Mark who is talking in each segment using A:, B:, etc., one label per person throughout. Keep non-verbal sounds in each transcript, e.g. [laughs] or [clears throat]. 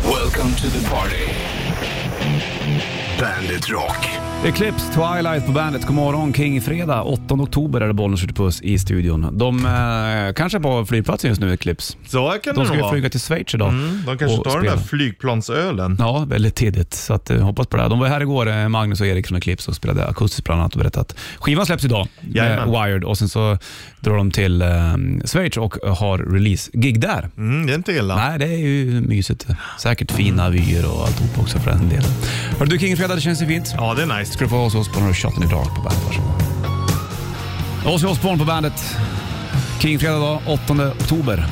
A: Welcome to the party. Bandit Rock.
B: Eclipse, Twilight på bandet. God morgon, King. Fredag 8 oktober är det Bollnäs skjuter puss i studion. De eh, kanske är på flygplatsen just nu, Eclipse.
C: Så kan
B: De ska
C: det nog
B: ju
C: vara.
B: flyga till Schweiz idag.
C: Mm, de kanske
B: och
C: tar den
B: spela.
C: där flygplansölen.
B: Ja, väldigt tidigt. Så att, eh, hoppas på det. här. De var här igår, eh, Magnus och Erik från Eclipse, och spelade akustiskt bland annat och berättade att skivan släpps idag, med
C: Jajamän.
B: Wired, och sen så drar de till eh, Schweiz och har release-gig där.
C: Mm, det är inte illa.
B: Nej, det är ju mysigt. Säkert fina vyer och alltihop också för den delen. Hörru du, King Fredag, det känns ju fint.
C: Ja, det är nice.
B: ska du få ha hos oss på några Shot in the Dark på bandet. Varsågod. Ozzy Osbourne på bandet. King fredag dag, 8 oktober.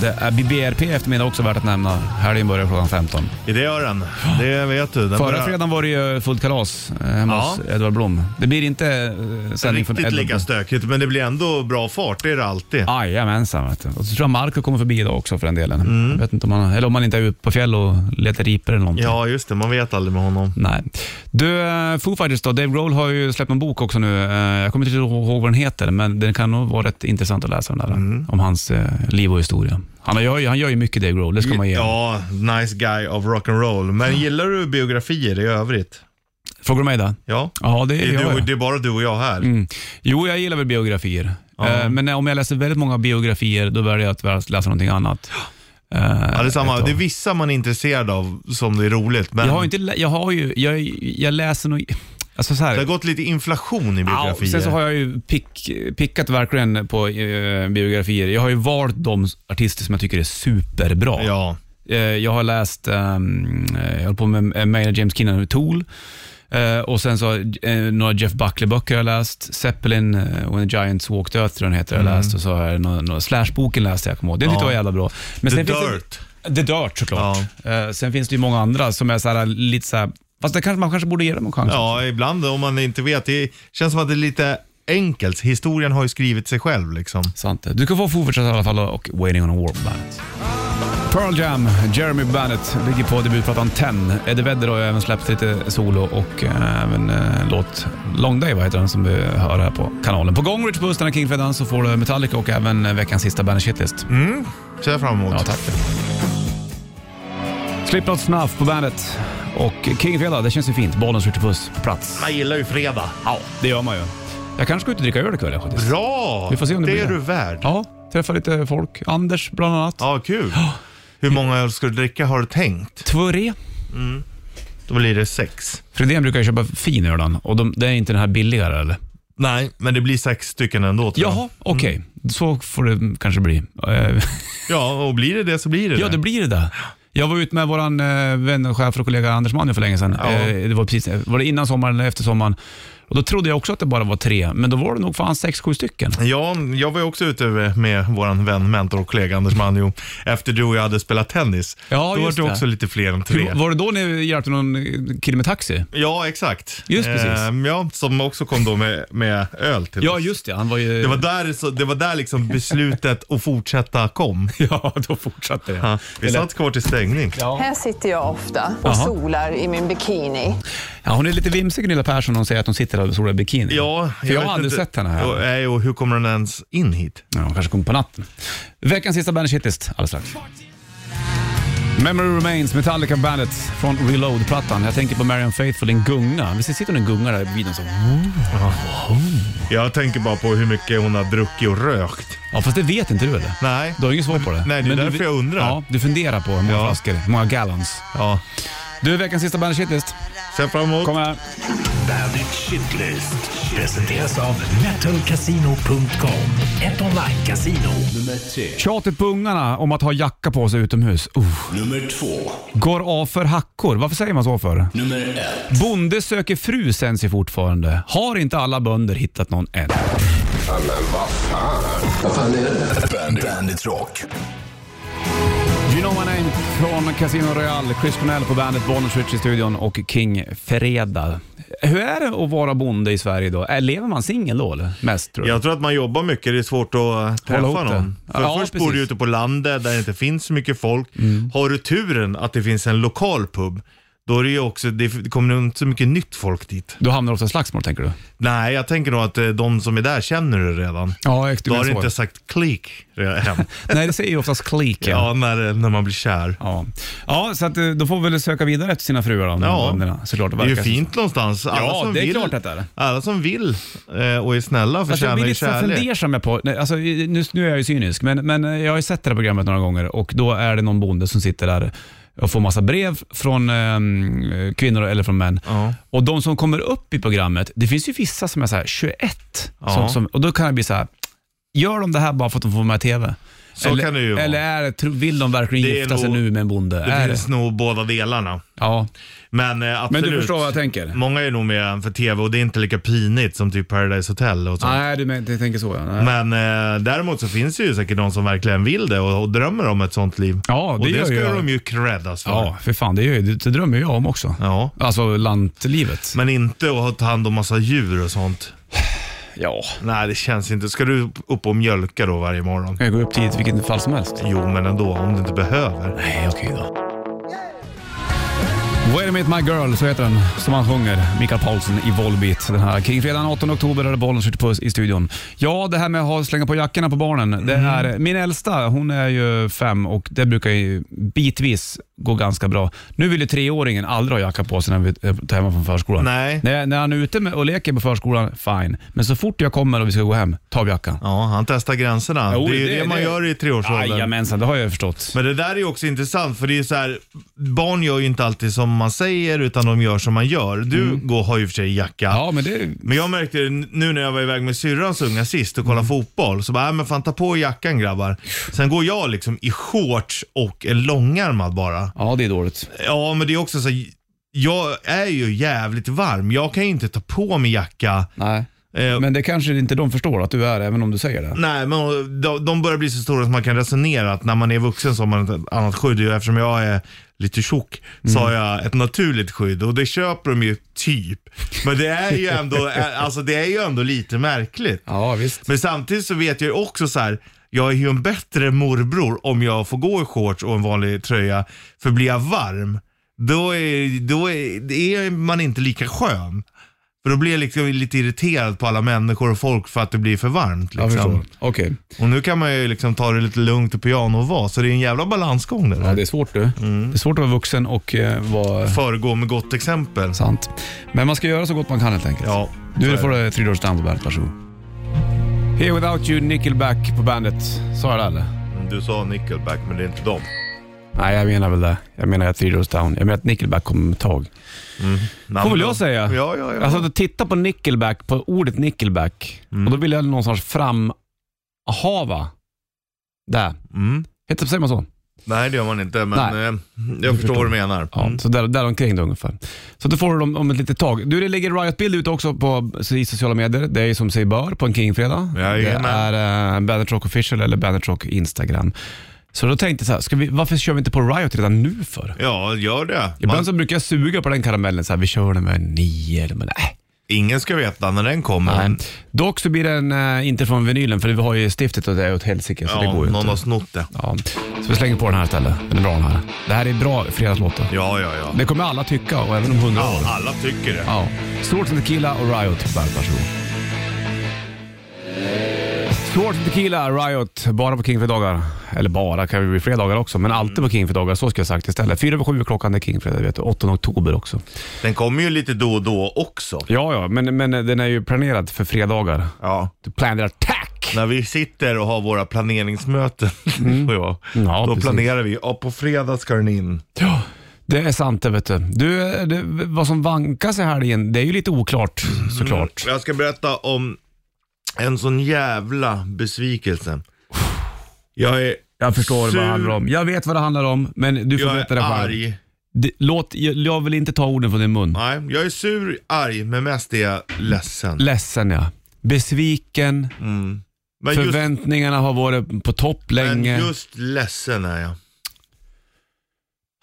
B: Det är BBRP eftermiddag också värt att nämna. Helgen börjar klockan 15.
C: I det gör den. Det vet du. Den
B: Förra
C: börjar-
B: fredagen var det ju fullt kalas eh, hemma
C: Ja.
B: hos Edvard Blom. Det blir inte eh, sändning från
C: Riktigt
B: Edvard
C: lika
B: Blom.
C: stökigt, men det blir ändå bra fart. Det är det alltid.
B: Jajamensan. vet du. Och så tror jag Marco kommer förbi idag också för den delen.
C: Mm.
B: Jag vet inte om han, eller om han inte är ute på fjäll och letar ripor eller någonting.
C: Ja, just det. Man vet aldrig med honom.
B: Nej. Du, eh, Foo Fighters då. Dave Grohl har ju släppt en bok också nu. Eh, Jag kommer inte ihåg vad den heter, men den kan nog vara rätt intressant att läsa den där.
C: Mm.
B: Om hans eh, liv och historia. Han gör, ju- han gör ju mycket Dave Grohl, det ska man ge ja.
C: Ja, nice guy of rock'n'roll. Men gillar du biografier i övrigt?
B: Frågar du mig det?
C: Ja.
B: Ja, det
C: Det är,
B: gör
C: du,
B: jag.
C: det är bara du och jag här.
B: Mm. Jo, jag gillar väl biografier. Eh, Men när- om jag läser väldigt många biografier, då väljer jag att väl läsa någonting annat. Eh,
C: Ja, det är samma.
B: ett
C: Det är
B: tag.
C: vissa man är intresserad av som det är roligt, men
B: Jag har inte, lä- jag har ju, jag, jag läser nog, alltså så här.
C: det har gått lite inflation i
B: Ja,
C: biografier.
B: sen så har jag ju pick, pickat verkligen på eh, biografier. Jag har ju valt de artister som jag tycker är superbra.
C: Ja.
B: Eh, jag har läst, ehm, eh, jag håller på med eh, Maynard James Keenan och Tool. Eh, och sen så har, eh, några Jeff Buckley-böcker jag har läst. Zeppelin, eh, When the Giants Walked Earth tror jag den heter,
C: Mm.
B: jag har läst. Och så har jag några, några, Slash-boken läste jag, kommer ihåg. Den tyckte jag var jävla bra. Men
C: The
B: sen finns det-
C: Dirt.
B: The Dirt såklart. Eh, sen finns det ju många andra som är så här, lite så här, fast det kanske, man kanske borde ge dem en chans.
C: Ja, ibland om man inte vet. Det känns som att det är lite enkelt. Historien har ju skrivit sig själv liksom.
B: Sant det. Du kan få fortsätta i alla fall och Waiting on a War på bandet. Pearl Jam, Jeremy Bennett, ligger på debutplattan 10. Eddie Vedder har ju även släppt lite solo och eh, även eh, låt Long Day, vad heter den, som vi hör här på kanalen. På gång Rich Puss den här Kingfredagen så får du Metallica och även eh, veckans sista Bandit Shitlist.
C: Ser jag fram emot.
B: Ja, tack. Slipknot Snuff på bandet och Kingfredag, det känns ju fint. Bollen skjuter puss på plats.
C: Man gillar ju fredag.
B: Ja, det gör man ju. Jag kanske ska ut och dricka öl ikväll faktiskt.
C: Bra!
B: Vi får se om det
C: det
B: blir
C: är
B: det.
C: du värd. Ja,
B: Ja, träffa lite folk. Anders bland annat.
C: kul. Hur många öl ska du dricka har du tänkt?
B: Två re.
C: Då blir det sex.
B: Fredén brukar ju köpa fin öl han, och de, det är inte den här billigare eller?
C: Nej, men det blir sex stycken ändå tror jag.
B: Jaha, okej. Mm. Så får det kanske bli. Eh,
C: Ja, och blir det det så blir det
B: [laughs] ja, det blir det där. Jag var ute med vår vän, och chef och kollega Anders Manjo för länge sedan.
C: Ja.
B: Eh, Det var, precis, var det innan sommaren eller efter sommaren? Och då trodde jag också att det bara var tre, men då var det nog fan sex, sju stycken.
C: Ja, jag var ju också ute med vår vän, mentor och kollega Anders Manjo efter du och jag hade spelat tennis.
B: Ja,
C: Då var
B: just
C: det
B: det.
C: också lite fler än tre.
B: Jo, Var det då ni hjälpte någon kille med taxi?
C: Ja, exakt.
B: Just precis.
C: Ehm, ja, som också kom då med, med öl till
B: Ja,
C: oss.
B: just det. Han var [laughs] ju...
C: Det var där, så, det var där liksom beslutet att fortsätta kom.
B: Ja, då fortsatte det.
C: Ja, vi satt kvar till stängning.
D: Här sitter jag ofta och
B: Jaha.
D: solar i min bikini.
B: Ja, hon är lite vimsig Gunilla Persson när hon säger att hon sitter där och solar i bikini.
C: Ja,
B: För jag,
C: vet
B: har aldrig
C: inte-
B: sett henne här.
C: Och, nej, och hur kommer den ens in hit?
B: Ja, de kanske kommer på natten. Veckans sista Bandit Shitlist alldeles strax. Memory Remains, Metallica Bandet från Reload-plattan. Jag tänker på Marian Faithfull, en gunga. Visst sitter hon en gunga där i videon? Så...
C: Jag tänker bara på hur mycket hon har druckit och rökt.
B: Ja, fast det vet inte du eller?
C: Nej.
B: Du har inget svar på det?
C: Nej, det är
B: du-
C: därför jag undrar.
B: Ja, du funderar på hur många
C: Ja.
B: flaskor, hur många gallons.
C: Ja.
B: Du, veckans sista Bandit Shitlist.
C: Ser fram emot.
B: Kom här.
A: Bandit Shitlist presenteras av metalcasino.com. Ett online-casino. Nummer tre.
B: Tjatet på ungarna om att ha jacka på sig utomhus. Uff.
A: Nummer två.
B: Går av för hackor. Varför säger man så för?
A: Nummer ett.
B: Bonde söker fru sänds ju fortfarande. Har inte alla bönder hittat någon än?
A: Bandit, Bandit Rock.
B: You know my name från Casino Royale. Chris Cornell på bandet Bonus Rich i studion och King Fredag. Hur är det att vara bonde i Sverige då? Äh, Lever man singel då eller? Mest tror jag.
C: Jag tror att man jobbar mycket, det är svårt att eh, träffa
B: ihop det.
C: någon. För
B: Ja,
C: först
B: precis.
C: bor du ute på landet där det inte finns så mycket folk. Har du turen att det finns en lokal pub, då är det ju också, det kommer nog inte så mycket nytt folk dit.
B: Då hamnar det ofta slagsmål tänker du?
C: Nej, jag tänker nog att eh, de som är där känner det redan.
B: Ja, exakt.
C: Då har det inte sagt klick
B: [laughs]
C: re- hem.
B: Nej, det säger ju oftast klick. Ja.
C: ja, när, när man blir kär.
B: Ja. ja, så att, eh, då får vi väl söka vidare efter sina fruar då.
C: Ja.
B: bönderna, såklart.
C: Det är ju
B: verkar som.
C: fint någonstans. Alla
B: Ja,
C: som
B: det är
C: vill,
B: klart att det är.
C: Alla som vill eh, och är snälla
B: Alltså, jag
C: förtjänar
B: blir
C: ju
B: lite så
C: kärlek.
B: fundersam jag på, nej, alltså, i- nu, nu är jag ju cynisk, men, men eh, jag har ju sett det här programmet några gånger och då är det någon bonde som sitter där och får massa brev från eh, kvinnor eller från män.
C: Ja.
B: Och de som kommer upp i programmet, det finns ju vissa som är så här 21, som,
C: Ja.
B: som, och då kan jag bli så här, gör de det här bara för att de får vara med i TV?
C: Så
B: eller,
C: kan det ju vara.
B: Eller är det, tro- vill de verkligen
C: Det är
B: gifta sig
C: nog-
B: nu med en bonde?
C: Det
B: är
C: finns
B: det?
C: nog båda delarna.
B: Ja.
C: Men eh,
B: Men
C: absolut. Mm.
B: du förstår vad jag tänker?
C: Många är nog med för tv och det är inte lika pinigt som typ Paradise Hotel och sånt.
B: Nej, du men, jag tänker så. Ja. Nej.
C: Men eh, däremot så finns det ju säkert de som verkligen vill det och, och drömmer om ett sånt liv.
B: Ja, det
C: och
B: gör
C: det ska
B: jag.
C: de ju creddas för.
B: ja, för fan, det, gör ju- det, det drömmer jag om också.
C: Ja.
B: Alltså lantlivet.
C: Men inte att ha- ta hand om massa djur och sånt.
B: Ja.
C: Nej, det känns inte. Ska du upp och mjölka då varje morgon?
B: Kan jag gå upp tidigt vilket fall som helst?
C: Jo, men ändå. Om du inte behöver.
B: Nej, okej då. Wait a minute my girl, så heter den, som han sjunger, Mikael Paulsen i Volbeat. Den här kring fredagen 8 oktober är det bollen skjuter på i studion. Ja, det här med att ha, slänga på jackorna på barnen. Det är, min äldsta, hon är ju fem och det brukar ju bitvis gå ganska bra. Nu vill ju treåringen aldrig ha jacka på sig när vi tar hemma från förskolan.
C: Nej.
B: När, när han är ute med, och leker på förskolan, fine. Men så fort jag kommer och vi ska gå hem, tar vi jackan.
C: Ja, han testar gränserna.
B: Jo,
C: det är ju det, man gör i treårsåldern.
B: Jajamensan, det har jag förstått.
C: Men det där är ju också intressant för det är ju så här, barn gör ju inte alltid som man säger utan de gör som man gör. Du går, har ju i och för sig jacka.
B: Mm. Ja, men det...
C: Men jag märkte det nu när jag var iväg med syrrans unga sist och kollade fotboll. Så bara, äh, men fan ta på jackan grabbar. Sen går jag liksom i shorts och en långärmad bara.
B: Ja, det är dåligt.
C: Ja, men det är också så här, jag är ju jävligt varm. Jag kan ju inte ta på mig jacka.
B: Nej.
C: Eh,
B: Men det kanske inte de förstår att du är, även om du säger det.
C: Nej, men de, de börjar bli så stora som man kan resonera att när man är vuxen så har man ett annat skydd. Och Eftersom jag är lite tjock så har jag ett naturligt skydd och det köper de ju typ. Men det är ju ändå, ä- alltså det är ju ändå lite märkligt.
B: Ja, visst.
C: Men samtidigt så vet jag ju också så här. Jag är ju en bättre morbror om jag får gå i shorts och en vanlig tröja. För blir jag varm, då är, då är, det är man inte lika skön. För då blir jag liksom lite irriterad på alla människor och folk för att det blir för varmt.
B: Jag
C: Liksom.
B: förstår. Okej.
C: Och nu kan man ju liksom ta det lite lugnt och piano och vara, så det är en jävla balansgång det
B: Ja,
C: där.
B: det är svårt du. Det är svårt att vara vuxen och eh, vara
C: Föregå med gott exempel.
B: sant. Men man ska göra så gott man kan helt enkelt.
C: Ja.
B: Du får du Three Doors Down på bandet, varsågod. Here Without You, Nickelback på bandet. Sa jag det eller?
C: Du sa nickelback, men det är inte dem.
B: Nej, jag menar väl det. Jag menar att Three Doors Down. Jag menar att Nickelback kommer med tag.
C: Nej,
B: Får
C: men
B: väl
C: då-
B: jag säga?
C: Ja, ja, ja.
B: Alltså att titta på nickelback, på ordet nickelback,
C: Mm.
B: och då vill jag någonstans framhava det.
C: Mm.
B: Heter, säger man så?
C: Nej, det gör man inte, men
B: Nej.
C: eh, jag, förstår vad du menar.
B: Ja,
C: Mm.
B: så där, där omkring då ungefär. Så då får du dem om ett litet tag. Du, det ligger Riot-bild ute också på i sociala medier. Det är ju som sig bör på en Kingfredag.
C: Jajamän.
B: Det är eh, Bandit Rock Official eller Bandit Rock Instagram. Så då tänkte jag så här, ska vi, varför kör vi inte på Riot redan nu för?
C: Ja, gör det.
B: Ibland
C: Man,
B: så brukar jag suga på den karamellen, så här, vi kör den med nio eller men nej.
C: ingen ska veta när den kommer.
B: Nej. Ehm, Dock så blir den eh, inte från vinylen för vi har ju stiftet och det är åt helsike så
C: Ja,
B: det går ju
C: någon har
B: inte.
C: snott det.
B: Ja. Så vi slänger på den här istället. Den är bra den här. Det här är bra fredagslåtar.
C: Ja, ja, ja.
B: Det kommer alla tycka och även om hundra år.
C: ja alla tycker det.
B: Ja. Swords and Tequila och Riot på bandet. Varsågod. Swords and Tequila, Riot, bara på Kingfredagar. Eller bara, kan ju bli fler dagar också,
C: Mm.
B: men alltid på Kingfredagar. Så ska jag sagt istället. Fyra över sju är klockan är Kingfredag, vet du. 8 oktober också.
C: Den kommer ju lite då och då också.
B: Ja, ja, men, men den är ju planerad för fredagar.
C: Ja.
B: Planerad attack!
C: När vi sitter och har våra planeringsmöten, [laughs] och jag,
B: Mm. Ja,
C: då
B: precis.
C: planerar vi. Ja, på fredag ska den in.
B: Ja, det är sant det vet du. du det, vad som vankas i helgen, det är ju lite oklart såklart.
C: Jag ska berätta om en sån jävla besvikelse. Jag är,
B: Jag förstår vad
C: Sur-
B: det handlar om. Jag vet vad det handlar om, men du får
C: jag
B: veta
C: är
B: det själv.
C: arg.
B: Det, låt, jag, jag vill inte ta orden från din mun.
C: Nej, jag är sur, arg, men mest är jag ledsen.
B: Ledsen ja. Besviken,
C: Men just,
B: förväntningarna har varit på topp
C: men
B: länge.
C: just ledsen är jag.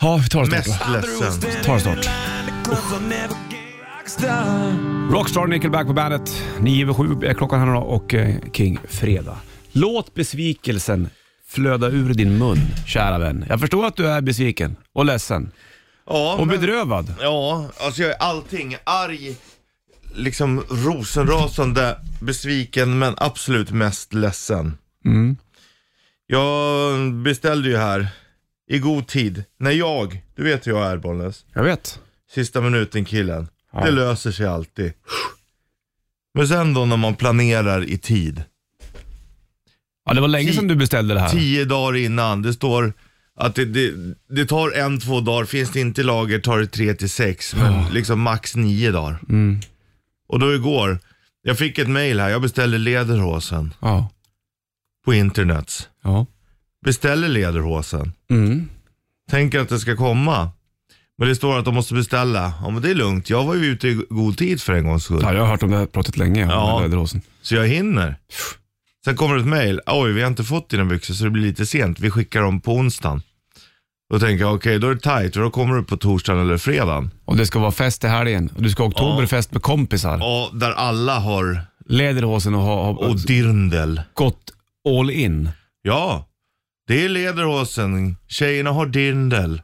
B: Ja, vi tar det snart
C: Mest
B: då.
C: ledsen.
B: tar det snart. Rockstar Nickelback på bandet. 9 över 7 är klockan här nu då och eh, King Fredag. Låt besvikelsen flöda ur din mun, kära vän. Jag förstår att du är besviken och ledsen.
C: Ja,
B: Och
C: men-
B: bedrövad.
C: Ja, alltså jag är allting. Arg, liksom rosenrasande, besviken men absolut mest ledsen.
B: Mm.
C: Jag beställde ju här i god tid. När jag, du vet hur jag är Bollnäs,
B: Jag vet.
C: sista minuten killen.
B: Ja.
C: Det löser sig alltid. Men sen då när man planerar i tid.
B: Ja, det var länge
C: Ti-
B: sedan du beställde det här.
C: Tio dagar innan, det står att det, det, det tar en, två dagar. Finns det inte i lager tar det tre till sex, men liksom max nio dagar.
B: Mm.
C: Och då igår, jag fick ett mail här. Jag beställde lederhosen
B: Ja.
C: på internet.
B: Ja.
C: Beställer lederhosen.
B: Mm.
C: Tänker att det ska komma. Men det står att de måste beställa. Ja men det är lugnt. Jag var ju ute i god tid för en gångs skull.
B: ja. Jag har hört om det här pratet länge. om
C: Ja.
B: den där Läderåsen.
C: Så jag hinner. Sen kommer det ett mejl. Oj, vi har inte fått dina byxor så det blir lite sent. Vi skickar dem på onsdagen. Då tänker jag, okej då är det tajt och då kommer du på torsdagen eller fredagen.
B: Och det ska vara fest i helgen. Och du ska ha oktoberfest med kompisar.
C: Ja, där alla har
B: Läderhosen och ha, ha
C: och dirndl.
B: gått all in.
C: Ja, det är lederhosen. Tjejerna har dirndl.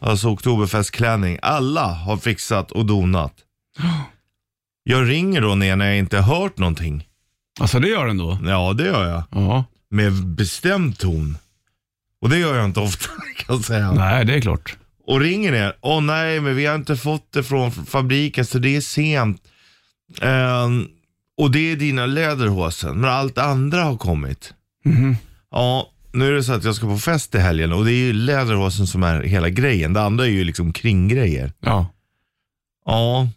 C: Alltså oktoberfestklänning. Alla har fixat och donat. Jag ringer då ner när jag inte har hört någonting.
B: Alltså det gör den då?
C: Ja, det gör jag.
B: Ja.
C: Med bestämd ton. Och det gör jag inte ofta [laughs] kan jag säga.
B: Nej, det är klart.
C: och ringer ner. Åh nej, men vi har inte fått det från fabriken så det är sent. Ehm, och det är dina läderhosen, men allt andra har kommit. Ja, nu är det så att jag ska på fest i helgen och det är ju läderhosen som är hela grejen. Det andra är ju liksom kringgrejer.
B: Ja.
C: Ja,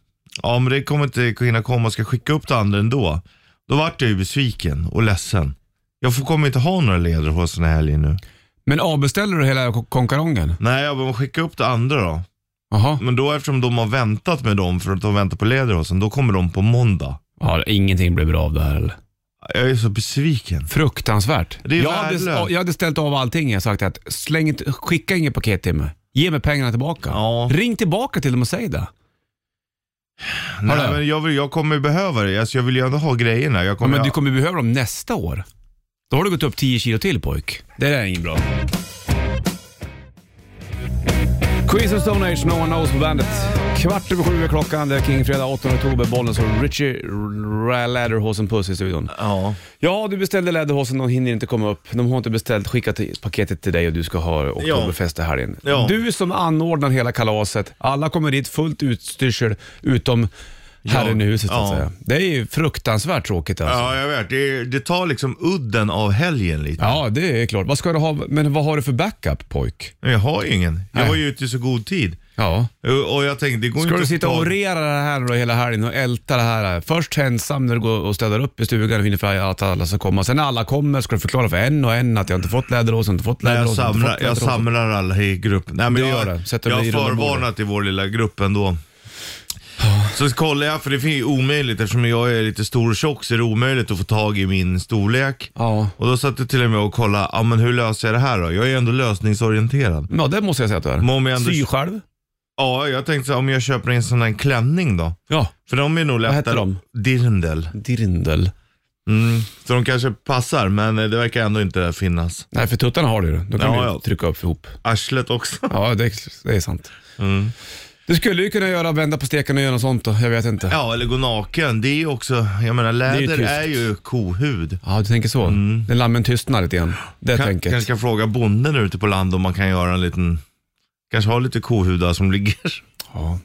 C: ja men det kommer inte hinna komma. Ska jag skicka upp det andra ändå? Då vart jag ju besviken och ledsen. Jag får, kommer inte ha några läderhosen i helgen nu.
B: Men avbeställer du hela ko- konkarongen?
C: Nej, jag bara skicka upp det andra då.
B: Jaha.
C: Men då eftersom de har väntat med dem för att de väntar på Lederhosen, då kommer de på måndag.
B: Ja, ingenting blev bra av det här eller?
C: Jag är så besviken.
B: Fruktansvärt.
C: Det är
B: jag, hade,
C: värdelöst.
B: jag hade ställt av allting. Jag sagt att släng inte, skicka inget paket till mig. Ge mig pengarna tillbaka.
C: Ja.
B: Ring tillbaka till dem och säg det.
C: Nej,
B: Hallå.
C: men jag, vill, jag kommer behöva det. Alltså, jag vill ju ändå ha grejerna. Jag
B: Ja,
C: kommer,
B: men du kommer behöva dem nästa år. Då har du gått upp 10 kilo till pojk. Det där är inget bra. Queens of Stone Age, No One Knows på bandet. Kvart över sju är klockan. Det är King Fredag 8 oktober. Bollen så Richie R- Läderhosen Puss i studion.
C: Ja.
B: Ja, du beställde Läderhosen. De hinner inte komma upp. De har inte beställt. Skickat paketet till dig och du ska ha oktoberfest i helgen.
C: Ja.
B: Du som anordnar hela kalaset. Alla kommer dit fullt utstyrsel utom herren i huset så att
C: Ja.
B: säga. Det är ju fruktansvärt tråkigt alltså.
C: ja, jag vet. Det, det tar liksom udden av helgen lite.
B: Ja, det är klart. Vad ska du ha, men vad har du för backup pojk?
C: Men Jag har ju ingen. Jag
B: Nej.
C: var ju ute i så god tid.
B: Ja.
C: Och, och jag tänkte, det går
B: Ska
C: inte
B: du
C: att
B: sitta och
C: ta-
B: orera det här då hela helgen och älta det här? Först ensam när du går och städar upp i stugan och hinner för att alla ska komma. Sen när alla kommer ska du förklara för en och en att jag inte fått läderåsen, inte fått
C: Nej, jag,
B: läderåsen, inte
C: samlar,
B: fått
C: jag
B: läderåsen.
C: samlar alla i gruppen. Nej, men
B: Du gör
C: jag,
B: det. Sätter
C: jag
B: dig
C: har
B: i runda bordet.
C: förvarnat i vår lilla grupp ändå. Så kollar jag, för det är ju omöjligt eftersom jag är lite stor och tjock så är det omöjligt att få tag i min storlek.
B: Ja.
C: Och då satt jag till och med och kollade, ja men hur löser jag det här då? Jag är ändå lösningsorienterad.
B: ja, det måste jag säga att du är.
C: Men om jag ändå-
B: Sy själv.
C: Ja, jag tänkte så här, om jag köper en sån där klänning då?
B: Ja.
C: För de är nog lättare.
B: heter de?
C: Dirndl.
B: Dirndl.
C: Mm. Så de kanske passar, men eh, det verkar ändå inte finnas.
B: Nej, för tuttarna har du ju. Då kan
C: Ja,
B: du
C: ja.
B: trycka upp ihop.
C: Arslet också.
B: Ja, det, det är sant.
C: Mm.
B: Du skulle ju kunna göra, vända på steken och göra något sånt då. Jag vet inte.
C: Ja, eller gå naken. Det är ju också, jag menar
B: är ju
C: läder
B: tyskt.
C: är ju kohud.
B: Ja, du tänker så. När lammen tystnar lite grann. Det
C: Kan,
B: tänket.
C: kanske ska fråga bonden ute på land om man kan göra en liten, kanske ha lite kohudar som ligger. [laughs]
B: Ja.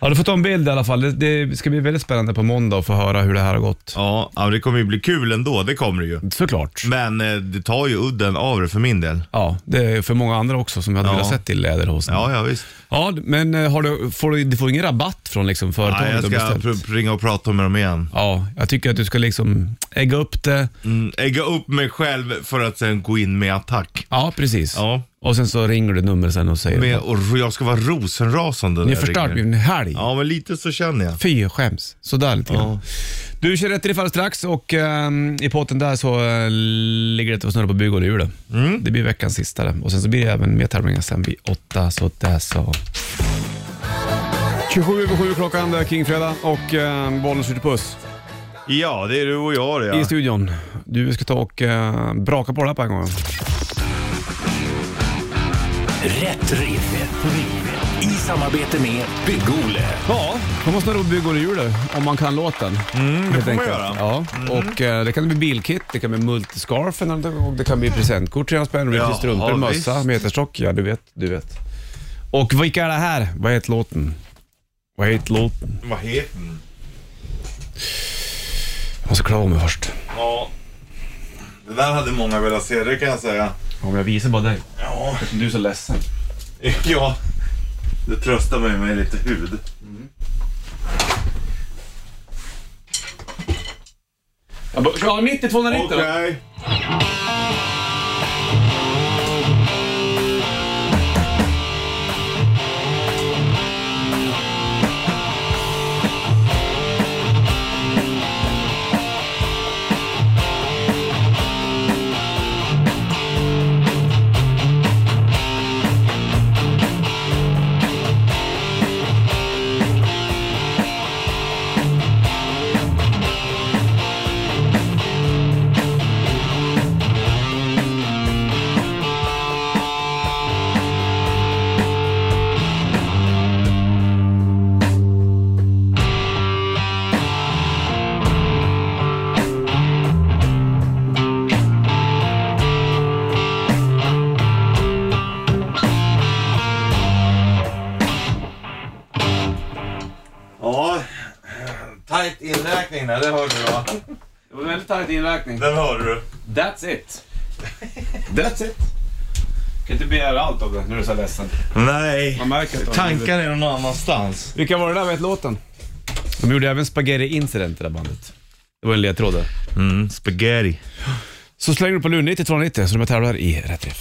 B: Ja, du får ta en bild i alla fall. Det, det ska bli väldigt spännande på måndag att få höra hur det här har gått.
C: Ja, ja, det kommer ju bli kul ändå, det kommer det ju.
B: Såklart.
C: Men eh, det tar ju udden av det för min del.
B: Ja, det är för många andra också som hade
C: Ja.
B: velat sett i läderhosen. Ja.
C: Ja, ja visst.
B: men eh, har du, får du, du får ingen rabatt från liksom företaget
C: Nej, jag
B: du
C: ska
B: beställt?
C: pr- ringa och prata med dem igen.
B: Ja, jag tycker att du ska liksom ägga upp det.
C: Mm, ägga upp mig själv för att sen gå in med attack.
B: Ja, precis.
C: Ja.
B: Och sen så ringer du numret sen och säger
C: Med, och jag ska vara rosenrasande när
B: Ni
C: jag
B: förstört
C: ringer.
B: min helg.
C: Ja, men lite så känner jag.
B: Fy, jag skäms. Sådär lite grann. Du kör rätt i det fallet strax och ehm, i potten där så eh, ligger det och snurrar på bygghjulet. Mm. Det blir veckans sista det. Och sen så blir det även mer tävlingar sen vid åtta, så där så. 27 över 7 klockan, det är Kingfredag och eh, bollen skjuter puss
C: Ja, det är du och jag det.
B: i
C: Ja.
B: studion. Du ska ta och eh, braka på det här på en gång.
A: Rätt riff. Rätt riff. I samarbete med Bygg-Ole.
B: Ja, man måste nog bygga under hjulet om man kan låten. Mm,
C: det får man göra.
B: Ja. Och eh, det kan bli bilkit, det kan bli multiscarfen och det kan bli presentkort, 300 spänn,
C: Ja,
B: ja, strumpor,
C: ja,
B: mössa,
C: visst.
B: meterstock. Ja, du vet, du vet. Och vilka är det här? Vad heter låten? Vad heter låten?
C: Vad heter den?
B: Jag måste klara av mig först.
C: Ja. Det där hade många velat se, det kan jag säga. [laughs]
B: Om jag visar bara dig.
C: Ja.
B: Du är så ledsen.
C: Ja. Du tröstar mig med lite hud.
B: Jag bara, ja, 90 290
C: Okej. Ja. Tajt inräkning där, det hörde du va?
B: Det var väldigt tajt inräkning.
C: Den hörde du.
B: That's it. [laughs] That's it. Kan inte begära allt av dig när du är så ledsen.
C: Nej.
B: Man märker att
C: Tankarna är någon annanstans.
B: Vilka var det där med låten? De gjorde även Spaghetti Incident i det där bandet. Det var en ledtråd där.
C: Mm, spaghetti.
B: Så slänger du på luren 90 290 så de här tävlar i rätt riff.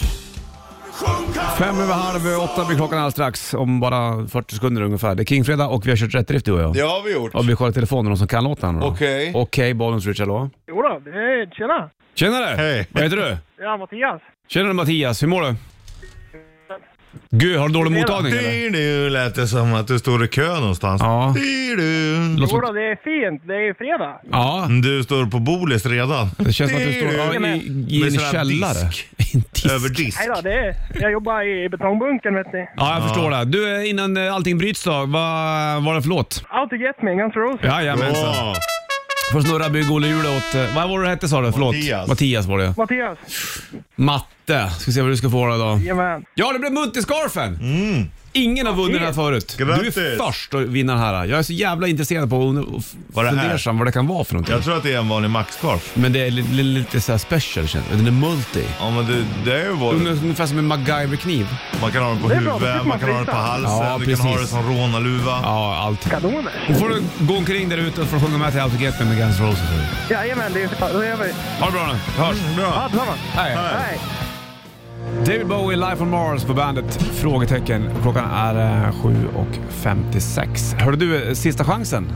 B: Fem över halv åtta blir klockan alldeles strax. Om bara 40 sekunder ungefär. Det är Kingfredag och vi har kört rätt riff du och jag.
C: Det har vi gjort.
B: Och vi kollar telefonen någon som kan låten. här nu då.
C: Okej.
B: Okej, Bollens Rich, hallå?
E: Jo då, det är, tjena!
B: Tjenare!
C: Hej.
B: Vad heter du?
E: Det är Mattias.
B: Tjenare Mattias, hur mår du? Gud, har du dålig mottagning eller?
C: Du, du, lät det som att du står i kö någonstans.
B: Ja.
C: Du, du.
B: Låt
E: Jo
B: som-
E: då, det är fint. Det är ju fredag.
B: Ja,
C: Du står på Bolis redan.
B: det känns som att du står ja, i, i
C: Med
B: en
C: sån här
B: källare. I [laughs] en disk.
C: Över disk.
E: Nej då, det är, jag jobbar i betongbunkern vet ni.
B: Ja, jag förstår det. Du, eh, innan eh, allting bryts då, vad var det för låt?
E: Out to get me, Guns N' Roses.
B: Jajamensan.
C: Ja.
B: Får snurra bygg-Olle-hjulet åt... eh, Vad var det du hette sa du? Förlåt.
C: Mattias.
B: Mattias var det
E: Mattias.
B: Matte. Ska se vad du ska få då. då.
E: Jajamän.
B: Ja, det blev multiscarfen! Ingen har vunnit den här förut. Du är
C: Mm. Grattis.
B: först att vinna den här. Jag är så jävla intresserad på och- och f-
C: Vad det är.
B: fundersam vad det kan vara för någonting.
C: Jag tror att det är en vanlig maxkorv.
B: Men det är li- li- lite så här special känns det. Den är multi.
C: Ja men det, det är ju vanligt.
B: Ungef- Ungefär som en MacGyver-kniv.
C: Man kan ha den på
E: Det är bra,
C: huvudet,
E: då slipper
C: man,
E: man
C: kan ha den på
E: flytta.
C: halsen,
B: Ja,
C: du kan ha den
B: precis.
C: som rånarluva.
B: Ja, allt.
E: Kanoner.
B: Nu får du gå omkring där ute och få sjunga med till Out to Get Me med Guns N' Roses.
E: Jajamän, det är fan. Då gör vi.
B: Ha det bra nu. Hörs.
C: Mm, bra.
E: Ja, tillsammans.
B: Hej.
E: Hej.
B: David Bowie, Life on Mars på bandet? Frågetecken. Klockan är eh, 7.56. Hörde du, eh, sista chansen.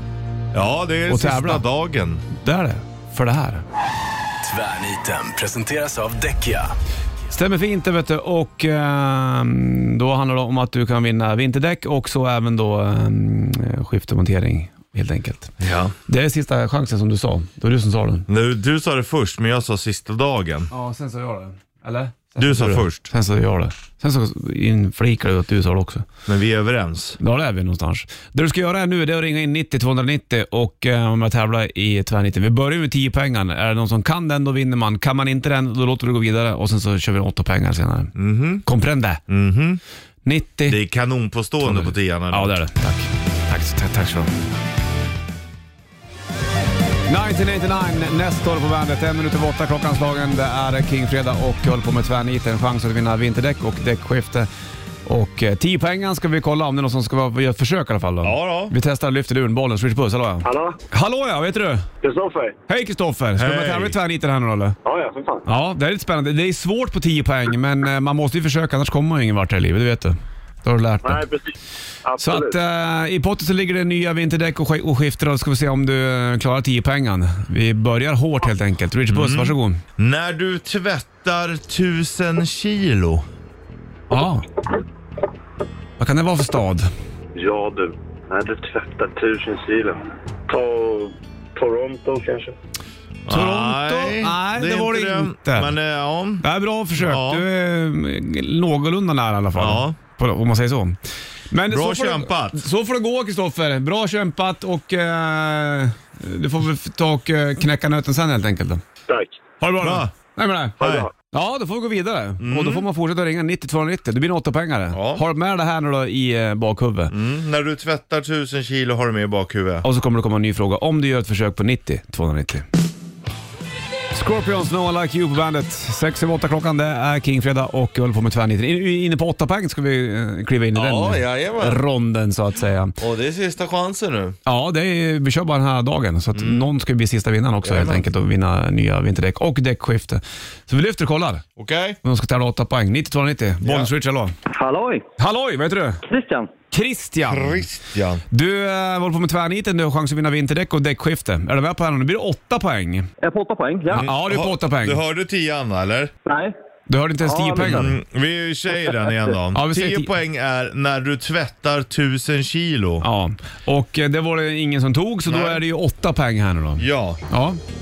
C: Ja, det är
B: Och
C: sista
B: tävla.
C: dagen.
B: Det är det. För det här.
A: Tvärniten presenteras av Däckia.
B: Stämmer fint det vet du. Och ehm, då handlar det om att du kan vinna vinterdäck och så även då um, skift och montering helt enkelt.
C: Ja.
B: Det är sista chansen som du sa. Det var du som sa den.
C: Nu, du sa det först, men jag sa sista dagen.
B: Ja, sen sa jag det. Eller?
C: Du sa först,
B: Sen sa jag det. Sen så inflikade du att du sa det också.
C: men vi är överens.
B: Ja, det är vi någonstans. Det du ska göra här nu det är att ringa in 90 290 och eh, om jag tävlar i tvärnitten. Vi börjar med 10 pengar. Är det någon som kan den, då vinner man. Kan man inte den, då låter du gå vidare och sen så kör vi 8 pengar senare. Mm-hmm. Comprende?
C: Mhm.
B: 90.
C: Det är kanonpåstående på tian. eller?
B: Ja, det är det. Tack. Tack, tack, tack så mycket. 1989, nästa år på bandet. En minut över åtta klockan slagen. Det är Kingfredag och jag håller på med tvärniten. En chans att vinna vinterdäck och däckskifte. Och eh, 10 pengar ska vi kolla om det är någon som ska vara, göra ett försök i alla fall. Då.
C: Ja, då.
B: Vi testar, lyfter luren, bollen, switch puss. Hallå ja.
F: Hallå?
B: Hallå ja, vad heter du?
F: Kristoffer?
B: Hej Kristoffer! Ska du med
C: Hej.
B: tävla i tvärniten här nu eller?
F: Ja, ja, för fan.
B: Ja, det här är lite spännande. Det är svårt på 10 poäng, men eh, man måste ju försöka annars kommer man ju ingen vart här i livet, det vet du. Det har du lärt dig.
F: Nej, precis.
B: Så att
F: Absolut.
B: eh, i potten så ligger det nya vinterdäck och, sk- och skifter och ska vi se om du eh, klarar 10 pengen. Vi börjar hårt helt enkelt. Rich
C: Mm.
B: Buss, varsågod.
C: När du tvättar tusen kilo.
B: Ja. Vad kan det vara för stad?
F: Ja, du. När du tvättar tusen kilo. Ta Toronto kanske.
B: Toronto? Nej, det
C: är
B: var det inte.
C: Men eh, ja.
B: Det här är bra försök.
C: Ja.
B: Du är eh, någorlunda nära i alla fall.
C: Ja.
B: på- om man säger så. Men
C: Bra
B: så får Det,
C: kämpat.
B: så får det gå Kristoffer. Bra kämpat och eh, du får väl ta och eh, knäcka nöten sen helt enkelt. Då.
F: Tack.
B: Ha det bra,
C: Bra.
B: då. Nej, men nej.
F: Ha det
C: Nej.
F: bra.
B: Ja, då får vi gå vidare och då får man fortsätta ringa 9290. Det blir en åttapengare.
C: Mm. Ja.
B: Har med det här nu då i eh, bakhuvudet.
C: Mm, när du tvättar tusen kilo har du med i bakhuvudet.
B: Och så kommer det komma en ny fråga om du gör ett försök på 90 290. Scorpions, No One Like You på bandet. Sex över åtta klockan, det är Kingfredag och vi håller på med tvärniten. In- Inne på åtta poäng ska vi eh, kliva in i
C: Ja,
B: den
C: jajamän.
B: ronden så att säga.
C: Och det är sista chansen nu.
B: Ja, det är, vi kör bara den här dagen så att någon ska ju bli sista vinnaren också helt
C: Mm. Jajamän.
B: enkelt och vinna nya vinterdäck och däckskifte. Så vi lyfter och kollar.
C: Okej?
B: De ska tävla åtta poäng. 90 290. Bollnäs
C: Ja.
B: Rich, hallå.
G: Halloj!
B: Halloj, vad heter du?
G: Christian.
B: Christian.
C: Christian.
B: Du eh, håller på med tvärniten, du har chans att vinna vinterdäck och däckskifte. Är du med på den? Nu blir det åtta poäng.
G: Jag är på åtta poäng. Ja.
B: Ja, du är på
C: Ha-
B: åtta poäng.
C: Du hörde tian va, eller?
G: Nej.
B: Du hörde inte ens
G: Ja,
B: 10 poäng.
G: men-
C: Mm, vi säger den igen då.
B: [laughs] Ja, vi säger
C: 10
B: ti-
C: poäng är när du tvättar tusen kilo. Ja.
B: Ja, och eh, det var det ingen som tog, så då
C: Nej.
B: är det ju 8 poäng här nu då. Ja.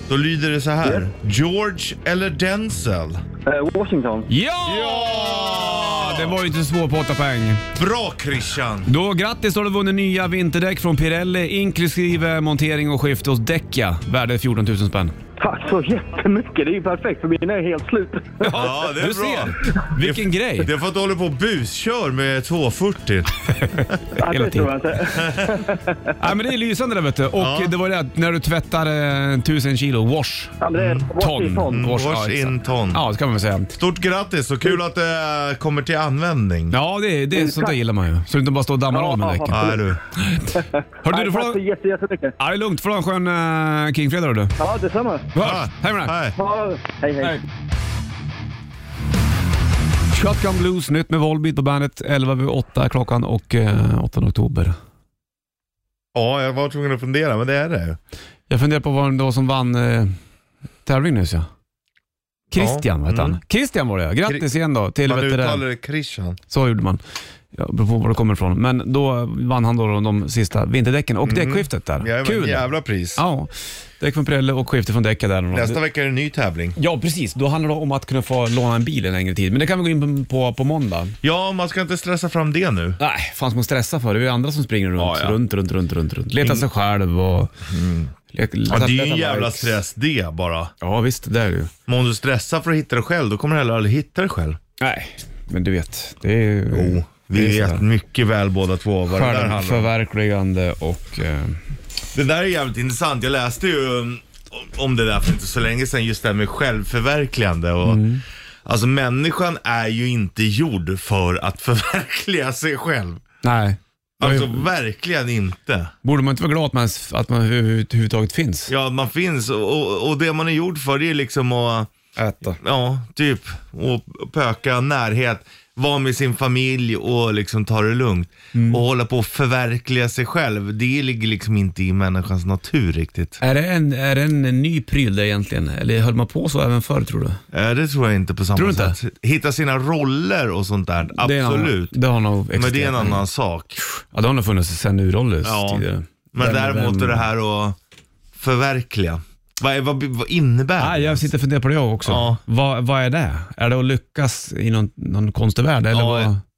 C: då lyder det så här. George eller Denzel?
G: Eh, Washington.
B: Ja! Det var ju inte så svårt på 8 poäng.
C: Bra Christian!
B: Då grattis, då har du vunnit nya vinterdäck från Pirelli inklusive montering och skifte hos Däcka. Värde 14 000 spänn.
G: Tack så jättemycket. Det är ju perfekt för min är helt slut.
C: Ja, det är
B: du
C: bra.
B: ser! Vilken grej!
C: Det är för att du håller på och buskör med 240.
G: Ja,
B: Hela
G: det tror jag inte.
B: Ja, men det är lysande det vet du. Och
C: Ja.
B: det var ju det att när du tvättar eh, 1000 kilo wash.
G: Ja, men det är Wash
B: Ton.
G: is ton.
B: Wash, ja,
C: Wash in
B: exakt.
C: ton.
B: Ja, det kan man väl säga.
C: Stort grattis och kul att det eh, kommer till användning.
B: Ja, det, det, sånt där gillar man ju. Så du inte bara står och dammar av med
G: Ja.
B: däcken.
C: Nej du.
B: Hörru du,
G: Nej,
B: du får
G: Tack
B: ha...
G: så jätte- jättemycket.
B: Ja, det är lugnt. får ha en skön uh, Kingfredag du.
G: Ja, detsamma.
B: Vi hörs. Hej med dig.
C: Ah. Hej.
G: Ja, hej, hej.
B: Hej. Shotgun Blues, nytt med Volbeat på bandet. 11 vid 8 klockan och eh, 8 oktober.
C: Ja, jag var tvungen att fundera, men det är det.
B: Jag funderar på vad det var som vann eh, tävlingen nyss ja. Christian
C: Ja,
B: vad hette han.
C: mm.
B: Christian var det ja. Grattis igen då till
C: Man
B: vet du det.
C: uttalar det Christian.
B: Så gjorde man. Ja, beror på var det kommer ifrån. Men då vann han då de sista vinterdäcken och däckskiftet där.
C: Jajamän,
B: Kul!
C: Mm. Jävla pris.
B: Ja, däck från Pirelli och skifte från däcka där.
C: Nästa vecka är det en ny tävling.
B: Ja, precis. Då handlar det om att kunna få låna en bil en längre tid. Men det kan vi gå in på på måndag.
C: Ja, man ska inte stressa fram det nu.
B: Nej, fan ska man stressa för? Det är ju andra som springer runt,
C: Ja, ja. Mm.
B: runt, runt, runt, runt, runt. Letar sig själv och... Leta,
C: Ja, det är ju en
B: letar
C: jävla
B: likes.
C: stress det bara.
B: Ja, visst. Det är det ju.
C: Men om du stressar för att hitta det själv, då kommer du heller aldrig hitta det själv.
B: Nej, men du vet. Det är ju...
C: Jo, vi
B: det är
C: vet
B: sådär.
C: mycket väl båda två vad det där handlar om.
B: Självförverkligande och... Eh,
C: Det där är jävligt intressant. Jag läste ju um, om det där för inte så länge sedan, just det här med självförverkligande. Och,
B: Mm.
C: Alltså människan är ju inte gjord för att [laughs] förverkliga sig själv.
B: nej.
C: Alltså verkligen inte.
B: Borde man inte vara glad att man, ens- att man överhuvudtaget finns?
C: Ja, man finns och, och, och det man är gjord för det är liksom att
B: Äta.
C: Ja, typ. Och pöka närhet, vara med sin familj och liksom ta det lugnt.
B: Mm.
C: Och hålla på att förverkliga sig själv, det ligger liksom inte i människans natur riktigt.
B: Är det, en, är det en ny pryl det egentligen? Eller höll man på så även förr tror du?
C: Eh, Det tror jag inte på samma
B: Tror du inte?
C: sätt. Hitta sina roller och sånt där, absolut.
B: Det, är en annan- det har nog
C: Men det är en
B: existerat.
C: annan sak.
B: Ja, det har nog funnits sen urålders
C: Ja.
B: tidigare.
C: Men
B: Vem-
C: däremot
B: vem-
C: är det här att förverkliga. Vad, är- vad, vad innebär
B: Nej,
C: det?
B: jag sitter och funderar på det jag också.
C: Ja.
B: Vad, vad är det? Är det att lyckas i någon, någon konstig värld? Eller
C: Ja,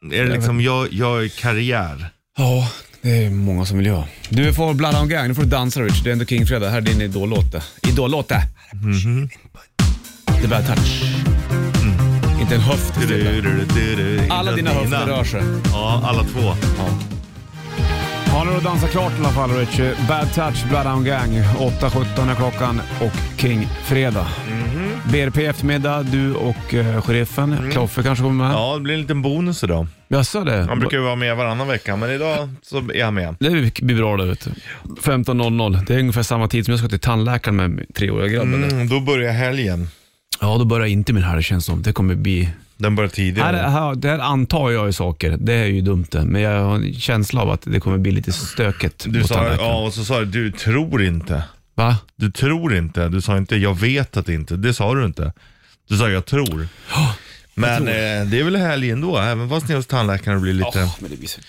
B: vad?
C: är det liksom, jag, jag är karriär.
B: ja, det är många som vill göra. Du får Blood on Gang, nu får du dansa Rich. Det är ändå King-fredag. Här är din idollåt. det. Idollåt det.
C: Mhm.
B: Det börjar touch.
C: Mm.
B: Inte en höft.
C: Du,
B: istället.
C: du, du, du, du.
B: Alla dina höfter rör sig.
C: Ja, alla två.
B: Ja, nu har du dansat klart i alla fall Richie. Bad Touch, Blood on Gang. 8.17 är klockan och King-fredag.
C: Mhm.
B: BRP eftermiddag, du och uh, sheriffen. Kloffe kanske kommer med.
C: Mm. Ja, det blir en liten bonus idag.
B: Jaså det?
C: Han brukar ju vara med varannan vecka, men idag så är han med.
B: Det blir bra det vet du. 15.00. Det är ungefär samma tid som jag ska till tandläkaren med treåriga grabben.
C: Mm, då börjar helgen.
B: Ja, då börjar inte min helg känns som. Det kommer bli...
C: Den börjar
B: Här,
C: tidigare.
B: här, det här antar jag ju saker. Det är ju dumt det. Men jag har en känsla av att det kommer bli lite stökigt
C: Du
B: mot
C: sa,
B: tandläkaren.
C: ja, och så sa du, du tror inte.
B: Va?
C: Du tror inte. Du sa inte, jag vet att det inte. Det sa du inte. Du sa,
B: [gasps]
C: jag tror. Men eh, det är väl helgen då, även fast ni är hos tandläkaren och blir lite...
B: men det blir så...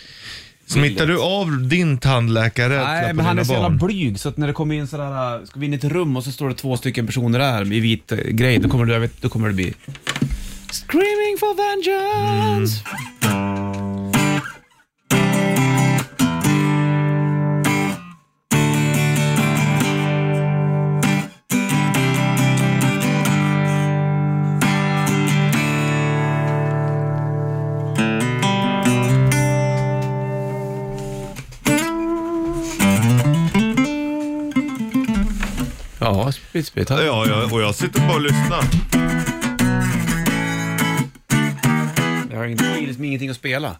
C: Smittar du av din tandläkare
B: Nej, men han är så jävla blyg så att när det kommer in sådär, äh, ska vi in i ett rum och så står det två stycken personer där i vit äh, grej, då kommer det, jag vet, då kommer det bli Screaming for vengeance! Ja, spritsprit.
C: Ja, ja, och jag sitter bara och lyssnar.
B: Jag har ingen- liksom ingenting att spela.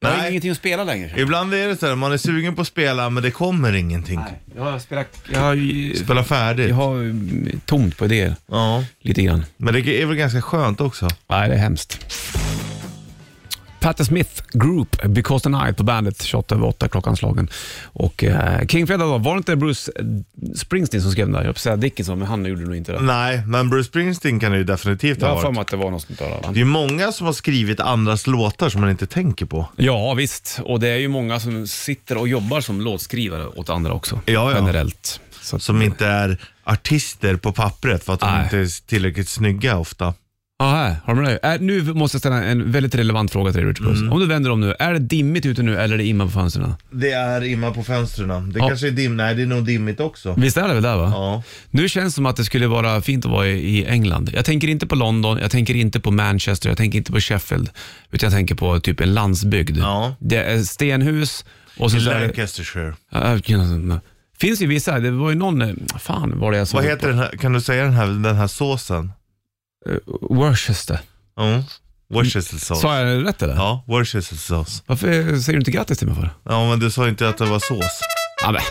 B: Jag har
C: Nej.
B: ingenting att spela längre.
C: Ibland är det så här, man är sugen på att spela men det kommer ingenting.
B: Jag har spelat... Jag har,
C: Spela färdigt.
B: jag har mm, tomt på idéer.
C: Ja,
B: Lite grann.
C: men det är väl ganska skönt också.
B: Nej, det är hemskt. Patti Smith Group, Because the Night på bandet, 28 över 8 klockan slagen. Och eh, King Fredag då, var det inte Bruce Springsteen som skrev den där? Jag höll på att säga Dickinson, men han gjorde nog inte det.
C: Nej, men Bruce Springsteen kan det ju definitivt
B: Jag
C: ha
B: har för
C: varit.
B: mig att det var något sånt där. va?
C: Det är ju många som har skrivit andras låtar som man inte tänker på.
B: Ja, visst. Och det är ju många som sitter och jobbar som låtskrivare åt andra också.
C: Ja, ja.
B: Generellt. Så att-
C: Som inte är artister på pappret för att de
B: Nej.
C: inte är tillräckligt snygga ofta.
B: Ja, här har de det. Äh, nu måste jag ställa en väldigt relevant fråga till dig, Richard Puss. Om du vänder om nu, är det dimmigt ute nu eller är det imma på fönstren?
C: Det är imma på fönstren. Det
B: Ja.
C: kanske är dim... Nej, det är nog dimmigt också.
B: Visst är det väl där va?
C: Ja.
B: Nu känns det som att det skulle vara fint att vara i i England. Jag tänker inte på London, jag tänker inte på Manchester, jag tänker inte på Sheffield. Utan jag tänker på typ en landsbygd.
C: Ja.
B: Det är stenhus och så...
C: I
B: så här,
C: Lancastershire.
B: Ja, ja, finns ju vissa, det var ju någon, eh, fan var det jag såg
C: Vad heter den här, kan du säga den här, den här såsen?
B: på? Eh, Worcester.
C: Mm. Worcestersås.
B: Sa jag rätt eller?
C: Ja, worcestersås.
B: Varför säger du inte grattis till mig för det?
C: Ja, men du sa inte att det var sås.
B: Ja, men.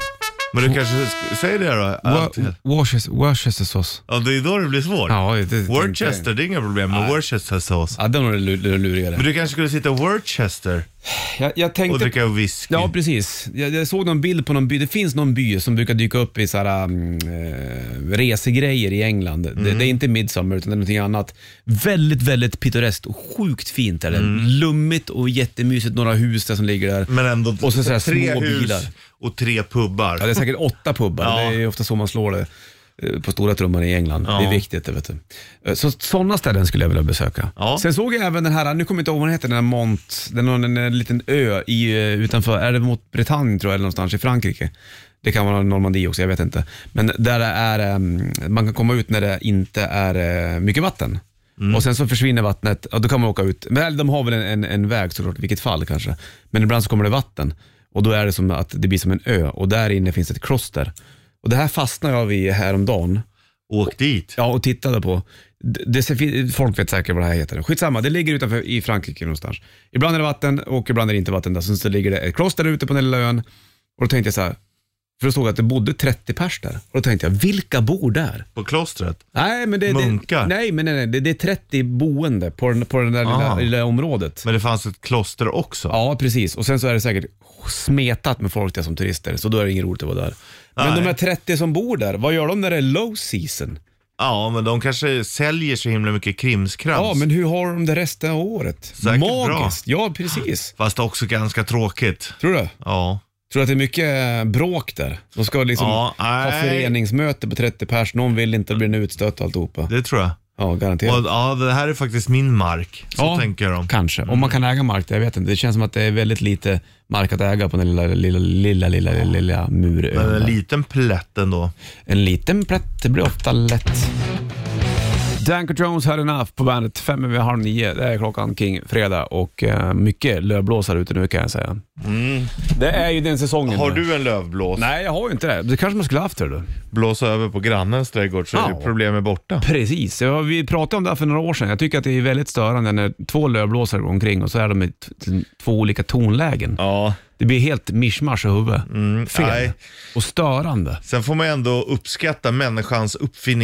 C: Men du kanske, sk- säg det då. Allt-
B: Wor- Worcester, Worcestersås.
C: Ja, det är då det blir svårt.
B: Ja, det- det,
C: Worcester, det är inga problem med worcestersås.
B: Ja, den var det lu- lurigare.
C: Men du kanske skulle sitta i Worcester
B: Jag, jag tänkte...
C: och dricka whisky?
B: Ja, precis. Jag, jag såg någon bild på någon by. Det finns någon by som brukar dyka upp i så här, mm, eh, resegrejer i England.
C: Mm.
B: Det, det är inte midsommar utan det är någonting annat. Väldigt, väldigt pittoreskt och sjukt fint är det. Lummigt och jättemysigt. Några hus där som ligger där.
C: Mm. Men ändå
B: och så, så här,
C: tre
B: små
C: hus
B: bilar.
C: och tre pubbar.
B: Ja, det är säkert åtta pubbar.
C: Ja.
B: Det är ju ofta så man slår det eh, på stora trumman i England. Det är
C: Ja.
B: viktigt. Det vet du. Eh, Så sådana ställen skulle jag vilja besöka.
C: Ja.
B: Sen såg jag även den här, nu kommer jag inte ihåg vad den heter, den här Mont, den har en, en liten ö i, eh, utanför, är det mot Britannien tror jag, eller någonstans i Frankrike. Det kan vara Normandie också, jag vet inte. Men där det är, eh, man kan komma ut när det inte är eh, mycket vatten. Och sen så försvinner vattnet, ja, då kan man åka ut. Men eller de har väl en, en, en väg såklart, i vilket fall kanske. Men ibland så kommer det vatten och då är det som att det blir som en ö och där inne finns ett kloster. Och det här fastnade jag vid häromdagen.
C: Åk dit.
B: Ja, och tittade på. Det, det, ser fin- folk vet säkert vad det här heter. Skitsamma, det ligger utanför i Frankrike någonstans. Ibland är det vatten och ibland är det inte vatten. Där. Sen så ligger det ett kloster ute på den lilla ön. Och då tänkte jag så här, för då såg jag att det bodde 30 pers där. Och då tänkte jag, vilka bor där?
C: På klostret.
B: Nej, men det,
C: Munkar.
B: Det, nej, men nej, nej, det, det är 30 boende på, den, på det där lilla,
C: Ah.
B: lilla området.
C: Men det fanns ett kloster också.
B: Ja, precis. Och sen så är det säkert smetat med folk där som turister, så då är det inget roligt att vara där. Men
C: Nej.
B: de här 30 som bor där, vad gör de när det är low season?
C: Ja, men de kanske säljer så himla mycket krimskrams.
B: Ja, men hur har de det resten av året?
C: Säkert bra.
B: Magiskt. Ja, precis.
C: Fast också ganska tråkigt.
B: Tror du?
C: Ja.
B: Tror du att det är mycket eh, bråk där? De ska liksom
C: Ja,
B: ha
C: nej.
B: föreningsmöte på 30 pers, någon vill inte bli en utstött och alltihopa.
C: Det tror jag.
B: Ja, garanterat.
C: Och, ja, det här är faktiskt min mark. Så
B: ja,
C: tänker de.
B: Kanske. Om man kan äga mark, jag vet inte. Det känns som att det är väldigt lite mark att äga på den lilla, lilla, lilla, lilla, lilla, lilla murön.
C: Men en
B: där.
C: liten plätt ändå.
B: En liten plätt, det blir ofta lätt. Danko Jones, Had Enough på bandet. Fem över halv nio, det är klockan kring fredag och eh, mycket lövblåsare ute nu kan jag säga. Det är ju den säsongen.
C: Mm. Har
B: nu.
C: du en lövblås?
B: Nej, jag har ju inte det. Det kanske man skulle haft det du.
C: Blåsa över på grannens trädgård så
B: Ja.
C: är problemet borta.
B: Precis, Ja, vi pratade om det här för några år sedan. Jag tycker att det är väldigt störande när två lövblåsare går omkring och så är de i t- t- två olika tonlägen.
C: Ja. Mm,
B: Det blir helt mischmasch i huvudet. Fel.
C: nej.
B: Och störande.
C: Sen får man ju ändå uppskatta människans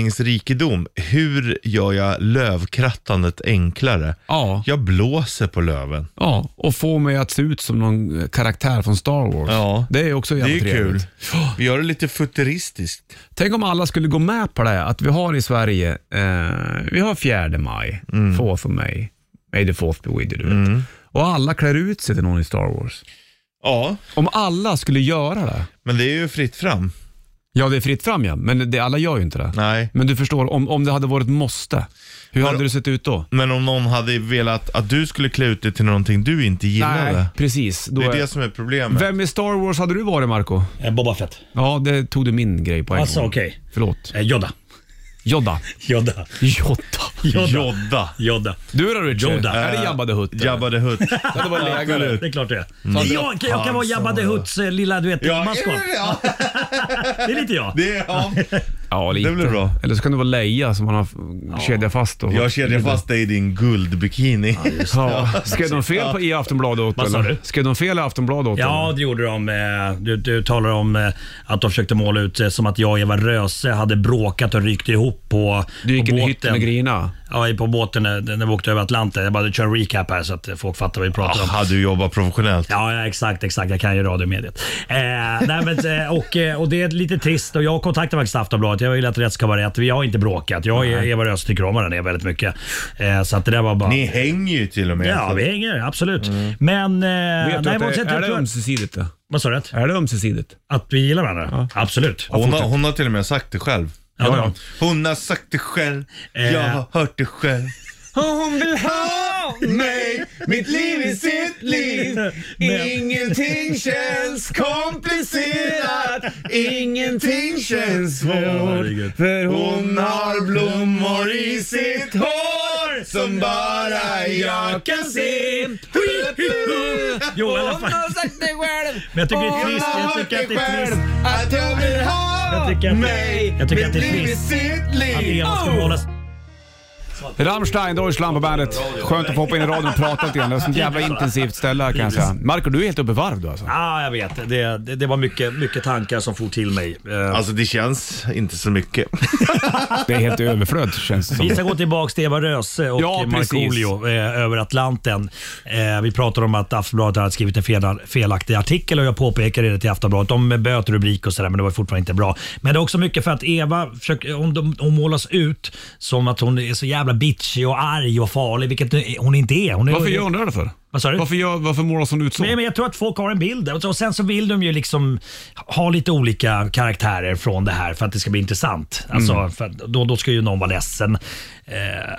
C: uppfinningsrikedom. Hur gör jag lövkrattandet enklare?
B: Ja.
C: Jag blåser på löven.
B: Ja, och få mig att se ut som någon eh, karaktär från Star Wars.
C: Ja.
B: Det är också jävligt
C: det är ju kul.
B: trevligt.
C: [gasps] Vi gör det lite futuristiskt.
B: Tänk om alla skulle gå med på det här, att vi har i Sverige, eh, vi har 4 maj,
C: Mm.
B: fourth of May, May the fourth be with you, du vet. Och alla klär ut sig till någon i Star Wars.
C: Ja,
B: Om alla skulle göra det,
C: men det är ju fritt fram.
B: ja det är fritt fram ja, men det, alla gör ju inte det.
C: Nej.
B: Men du förstår, om, om det hade varit måste, hur hade det sett ut då?
C: Men om någon hade velat att du skulle klä ut dig till någonting du inte gillade.
B: precis. Då
C: Det är
B: är-
C: det som är problemet.
B: Vem i Star Wars hade du varit, Marco?
H: Eh, Boba Fett.
B: Ja, det tog du min grej på en
H: Alltså,
B: gång.
H: okej.
B: Förlåt.
H: Eh, Yoda.
B: Jodda.
H: Yoda.
B: Jodda.
H: Yoda.
C: Jodda.
H: Yoda.
B: Du då Richard?
H: Yoda.
B: Är det Jabba the Hutt? eller?
C: Jabba the
H: [laughs]
C: Hutt. Mm.
B: Ja, det var lägare.
H: Det är klart det är. Jag, jag
B: Alltså.
H: kan vara Jabba the Hutts eh, lilla du vet, maskot.
C: ja.
H: Det är lite jag.
C: Det är, ja.
B: Ja, lite.
C: Det blir bra.
B: Eller så kan det vara leja som man har kedja fast. Och...
C: Jag kedjar fast dig i din
H: [laughs]
C: guldbikini.
B: Ja. Skrev de fel på i Aftonbladet åt
H: Vad sa
B: eller?
H: du?
B: Skrev de fel i Aftonbladet åt
H: Ja, det gjorde de. Eh, Du, du talar om eh, att de försökte måla ut eh, som att jag och Eva Röse hade bråkat och ryckt ihop på
B: Du gick
H: på
B: in i hytten och grinade.
H: Ja, på båten när, när vi åkte över Atlanten. Jag bara kör en recap här så att eh, folk fattar vad vi pratar om.
C: Aha, Ah, du jobbar professionellt.
H: Ja, ja, exakt, exakt. Jag kan ju radiomediet. Eh, nej, men, eh, och, eh, och det är lite trist och jag kontaktade faktiskt Aftonbladet. Jag vill att rätt ska vara rätt. Vi har inte bråkat. Jag och Eva Röse tycker om varandra väldigt mycket. Eh, så att det där var bara...
C: Ni hänger ju till och med. alltså.
H: Ja, vi hänger absolut. Men... Eh,
B: Vet du att
H: på något
B: det,
H: sätt,
B: är
H: jag
B: det
H: tror-
B: ömsesidigt? det?
H: Vad sa du?
B: Är det ömsesidigt?
H: Att vi gillar varandra? Absolut.
C: hon, har, hon har till och med sagt det själv.
H: Ja, ja.
C: Hon har sagt det själv. Jag
H: Eh.
C: har hört det själv. Hon vill ha mig, mitt liv i sitt liv. Ingenting känns komplicerat, ingenting känns svårt. För hon har blommor i sitt hår som bara jag kan se.
H: Jo, i alla fall. Men jag tycker det är trist. Jag tycker att det är trist.
C: att jag vill
H: Jag
C: ha
H: tycker att- jag tycker att det är trist
C: sitt
H: att Eva ska målas.
B: Rammstein, Deutschland på bandet. Skönt att få hoppa in i radion och prata lite grann. Det är ett sånt jävla intensivt ställe här kan jag säga. Marco, du är helt uppe i varv du alltså.
H: Ja, Ah, jag vet. Det, det, det var mycket, mycket tankar som for till mig. Eh,
C: Alltså det känns inte så mycket.
B: Det är helt överflöd känns det som.
H: Vi ska gå tillbaka till Eva Röse och
B: Alltså. Ja,
H: ja, Markoolio eh, över Atlanten. Eh, Vi pratar om att Aftonbladet hade skrivit en fel, felaktig artikel och jag påpekade det till Aftonbladet. De böt rubrik och sådär men det var fortfarande inte bra. Men det är också mycket för att Eva försöker, hon, de- hon målas ut som att hon är så jävla bitchig och arg och farlig, vilket hon inte är. Hon är
B: Varför gör hon det för?
H: Vad sa du?
B: Varför, gör, varför målas hon ut så?
H: Nej, men jag tror att folk har en bild. Och så- Och sen så vill de ju liksom ha lite olika karaktärer från det här för att det ska bli intressant. Alltså, för att då, då ska ju någon vara ledsen eh,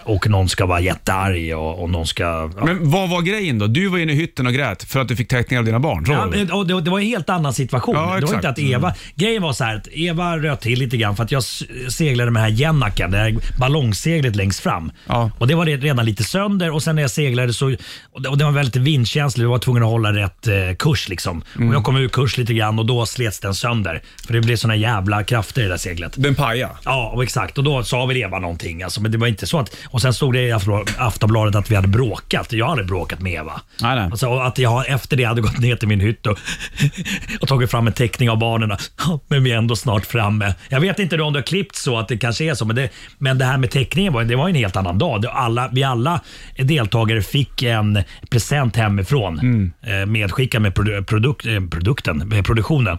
H: och någon ska vara jättearg och, och någon ska... Ja.
B: Men vad var grejen då? Du var inne i hytten och grät för att du fick teckningar av dina barn. Så
H: Ja,
B: var det.
H: men, och det, det var en helt annan situation.
B: Ja,
H: det var
B: exakt. Mm.
H: inte att Eva, Grejen var så här att Eva röt till lite grann för att jag s- seglade med den här jennakan, det här ballongseglet längst fram.
B: Ja.
H: Och Det var det redan lite sönder och sen när jag seglade så och det, och det var väldigt vindkänsligt. Jag var tvungen att hålla rätt eh, kurs. Liksom.
B: Mm.
H: Och jag kom ur kurs lite grann och då slets den sönder. För det blev såna jävla krafter i det där seglet.
B: Den paja.
H: Ja, och exakt. Och då sa väl Eva någonting. Alltså, men det var inte så att... Och sen stod det i Aftonbla- Aftonbladet att vi hade bråkat. Jag hade bråkat med Eva.
B: Nej, nej.
H: Alltså, och att jag efter det hade gått ner till min hytt och, [laughs] och tagit fram en teckning av barnen. Ja, Men vi är ändå snart framme. Jag vet inte då om det har klippt så att det kanske är så, men det, men det här med teckningen var, det var en helt annan dag. Det, alla, vi alla deltagare fick en present hemifrån eh, medskickad med produ- produkt, eh, produkten, eh, produktionen.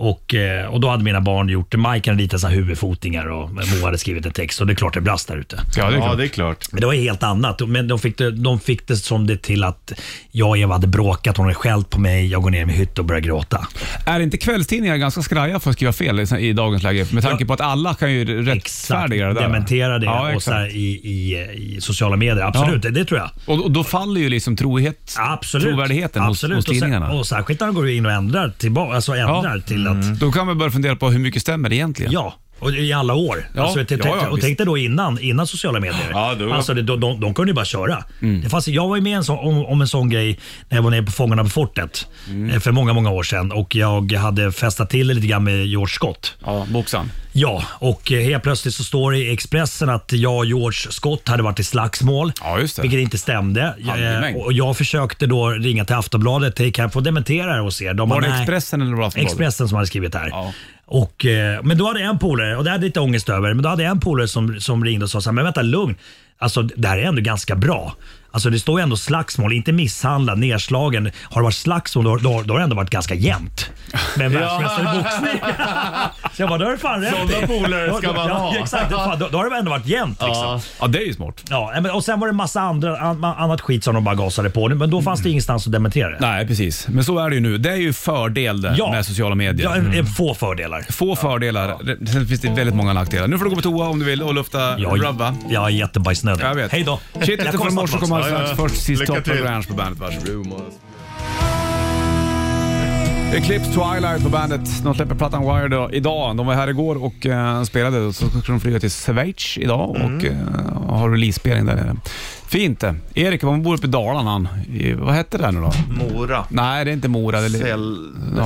H: Och, eh, och då hade mina barn gjort, Mike hade ritat så här huvudfotingar och Moa hade skrivit en text och det är klart det brast där ute.
B: Ja, det är
C: Ja,
B: klart.
C: det är klart.
H: Men det var helt annat. Men de fick det, de fick det som det till att jag och Eva hade bråkat, hon hade skällt på mig, jag går ner i min hytt och börjar gråta.
B: Är inte kvällstidningar ganska skraja för att skriva fel i- i dagens läge? Med tanke på att alla kan ju
H: Exakt,
B: rättfärdiga det där.
H: dementera det
B: Ja,
H: och så här
B: exakt.
H: i, i, i sociala medier. Absolut, det, det tror jag.
B: Och, och då faller ju liksom trohet,
H: Absolut.
B: trovärdigheten
H: Absolut.
B: Hos, hos tidningarna. Mm.
H: Och, sen, och särskilt när de går in och ändrar, tillbaka, alltså ändrar till att
B: Då kan man börja fundera på hur mycket stämmer egentligen?
H: Ja, och i alla år.
B: Ja,
H: Alltså, tänk,
B: ja, ja,
H: och
B: visst.
H: tänk dig då innan, innan sociala medier.
C: Ja, det var-
H: Alltså, det, de, de, de kunde ju bara köra.
B: Mm.
H: Det fanns, jag var ju med en sån, om, om en sån grej när jag var nere på Fångarna på fortet
B: Mm.
H: eh, för många, många år sedan och jag hade festat till det lite grann med George Scott.
B: Ja, boxaren.
H: Ja, och eh, helt plötsligt så står det i Expressen att jag och George Scott hade varit i slagsmål.
B: Ja, just det.
H: Vilket inte stämde.
B: Handgemäng.
H: Eh, Och jag försökte då ringa till Aftonbladet. Hej, kan jag få dementera det hos er? De
B: Var
H: bara,
B: det
H: "Nej."
B: Expressen eller var det Aftonbladet?
H: Expressen som hade skrivit det här.
B: Ja.
H: Och, eh, men då hade en polare, och det hade jag lite ångest över, men då hade jag en polare som, som ringde och sa så här, men vänta lugn, alltså det här är ändå ganska bra. Alltså det står ju ändå slagsmål, inte misshandlad, nedslagen. Har det varit slagsmål då, då, då har det ändå varit ganska jämnt. Men världsmästare i boxning. [laughs] Så jag bara, då har du fan rätt
C: Sådana
H: i.
C: polare ska
H: Då- då-
C: man
H: ja,
C: ha.
H: [laughs] Exakt, fan, då, då har det ändå varit jämnt liksom.
B: Ja, det är ju smart.
H: Ja, men- och sen var det massa andra, an, annat skit som de bara gasade på. Men då fanns det ingenstans att dementera det.
B: Mm. Nej, precis. Men så är det ju nu. Det är ju fördel det
H: Ja.
B: med sociala medier. Mm.
H: Ja, en- en få fördelar.
B: Få fördelar. Det- Sen finns det väldigt många nackdelar. Nu får du gå på toa om du vill och lufta
H: Jag,
B: rubba.
H: jag är jättebajsnödig.
B: Jag vet.
H: Hej då.
B: Shit, lite för morse kommer
C: Ja,
B: alldeles
C: ja.
B: strax. Först sist
C: Lycka
B: Top of
C: till.
B: Ranch på bandet. Varsågod. Eclipse Twilight på bandet. De släpper plattan Wired då- idag. De var här igår och
C: Mm.
B: eh, spelade. Så skulle de flyga till Schweiz idag och eh, ha release-spelning där nere. Fint det. Erik, han bor uppe i Dalarna han. I, vad hette det nu då?
C: Mora.
B: Nej, det är inte Mora. Det är... Ja.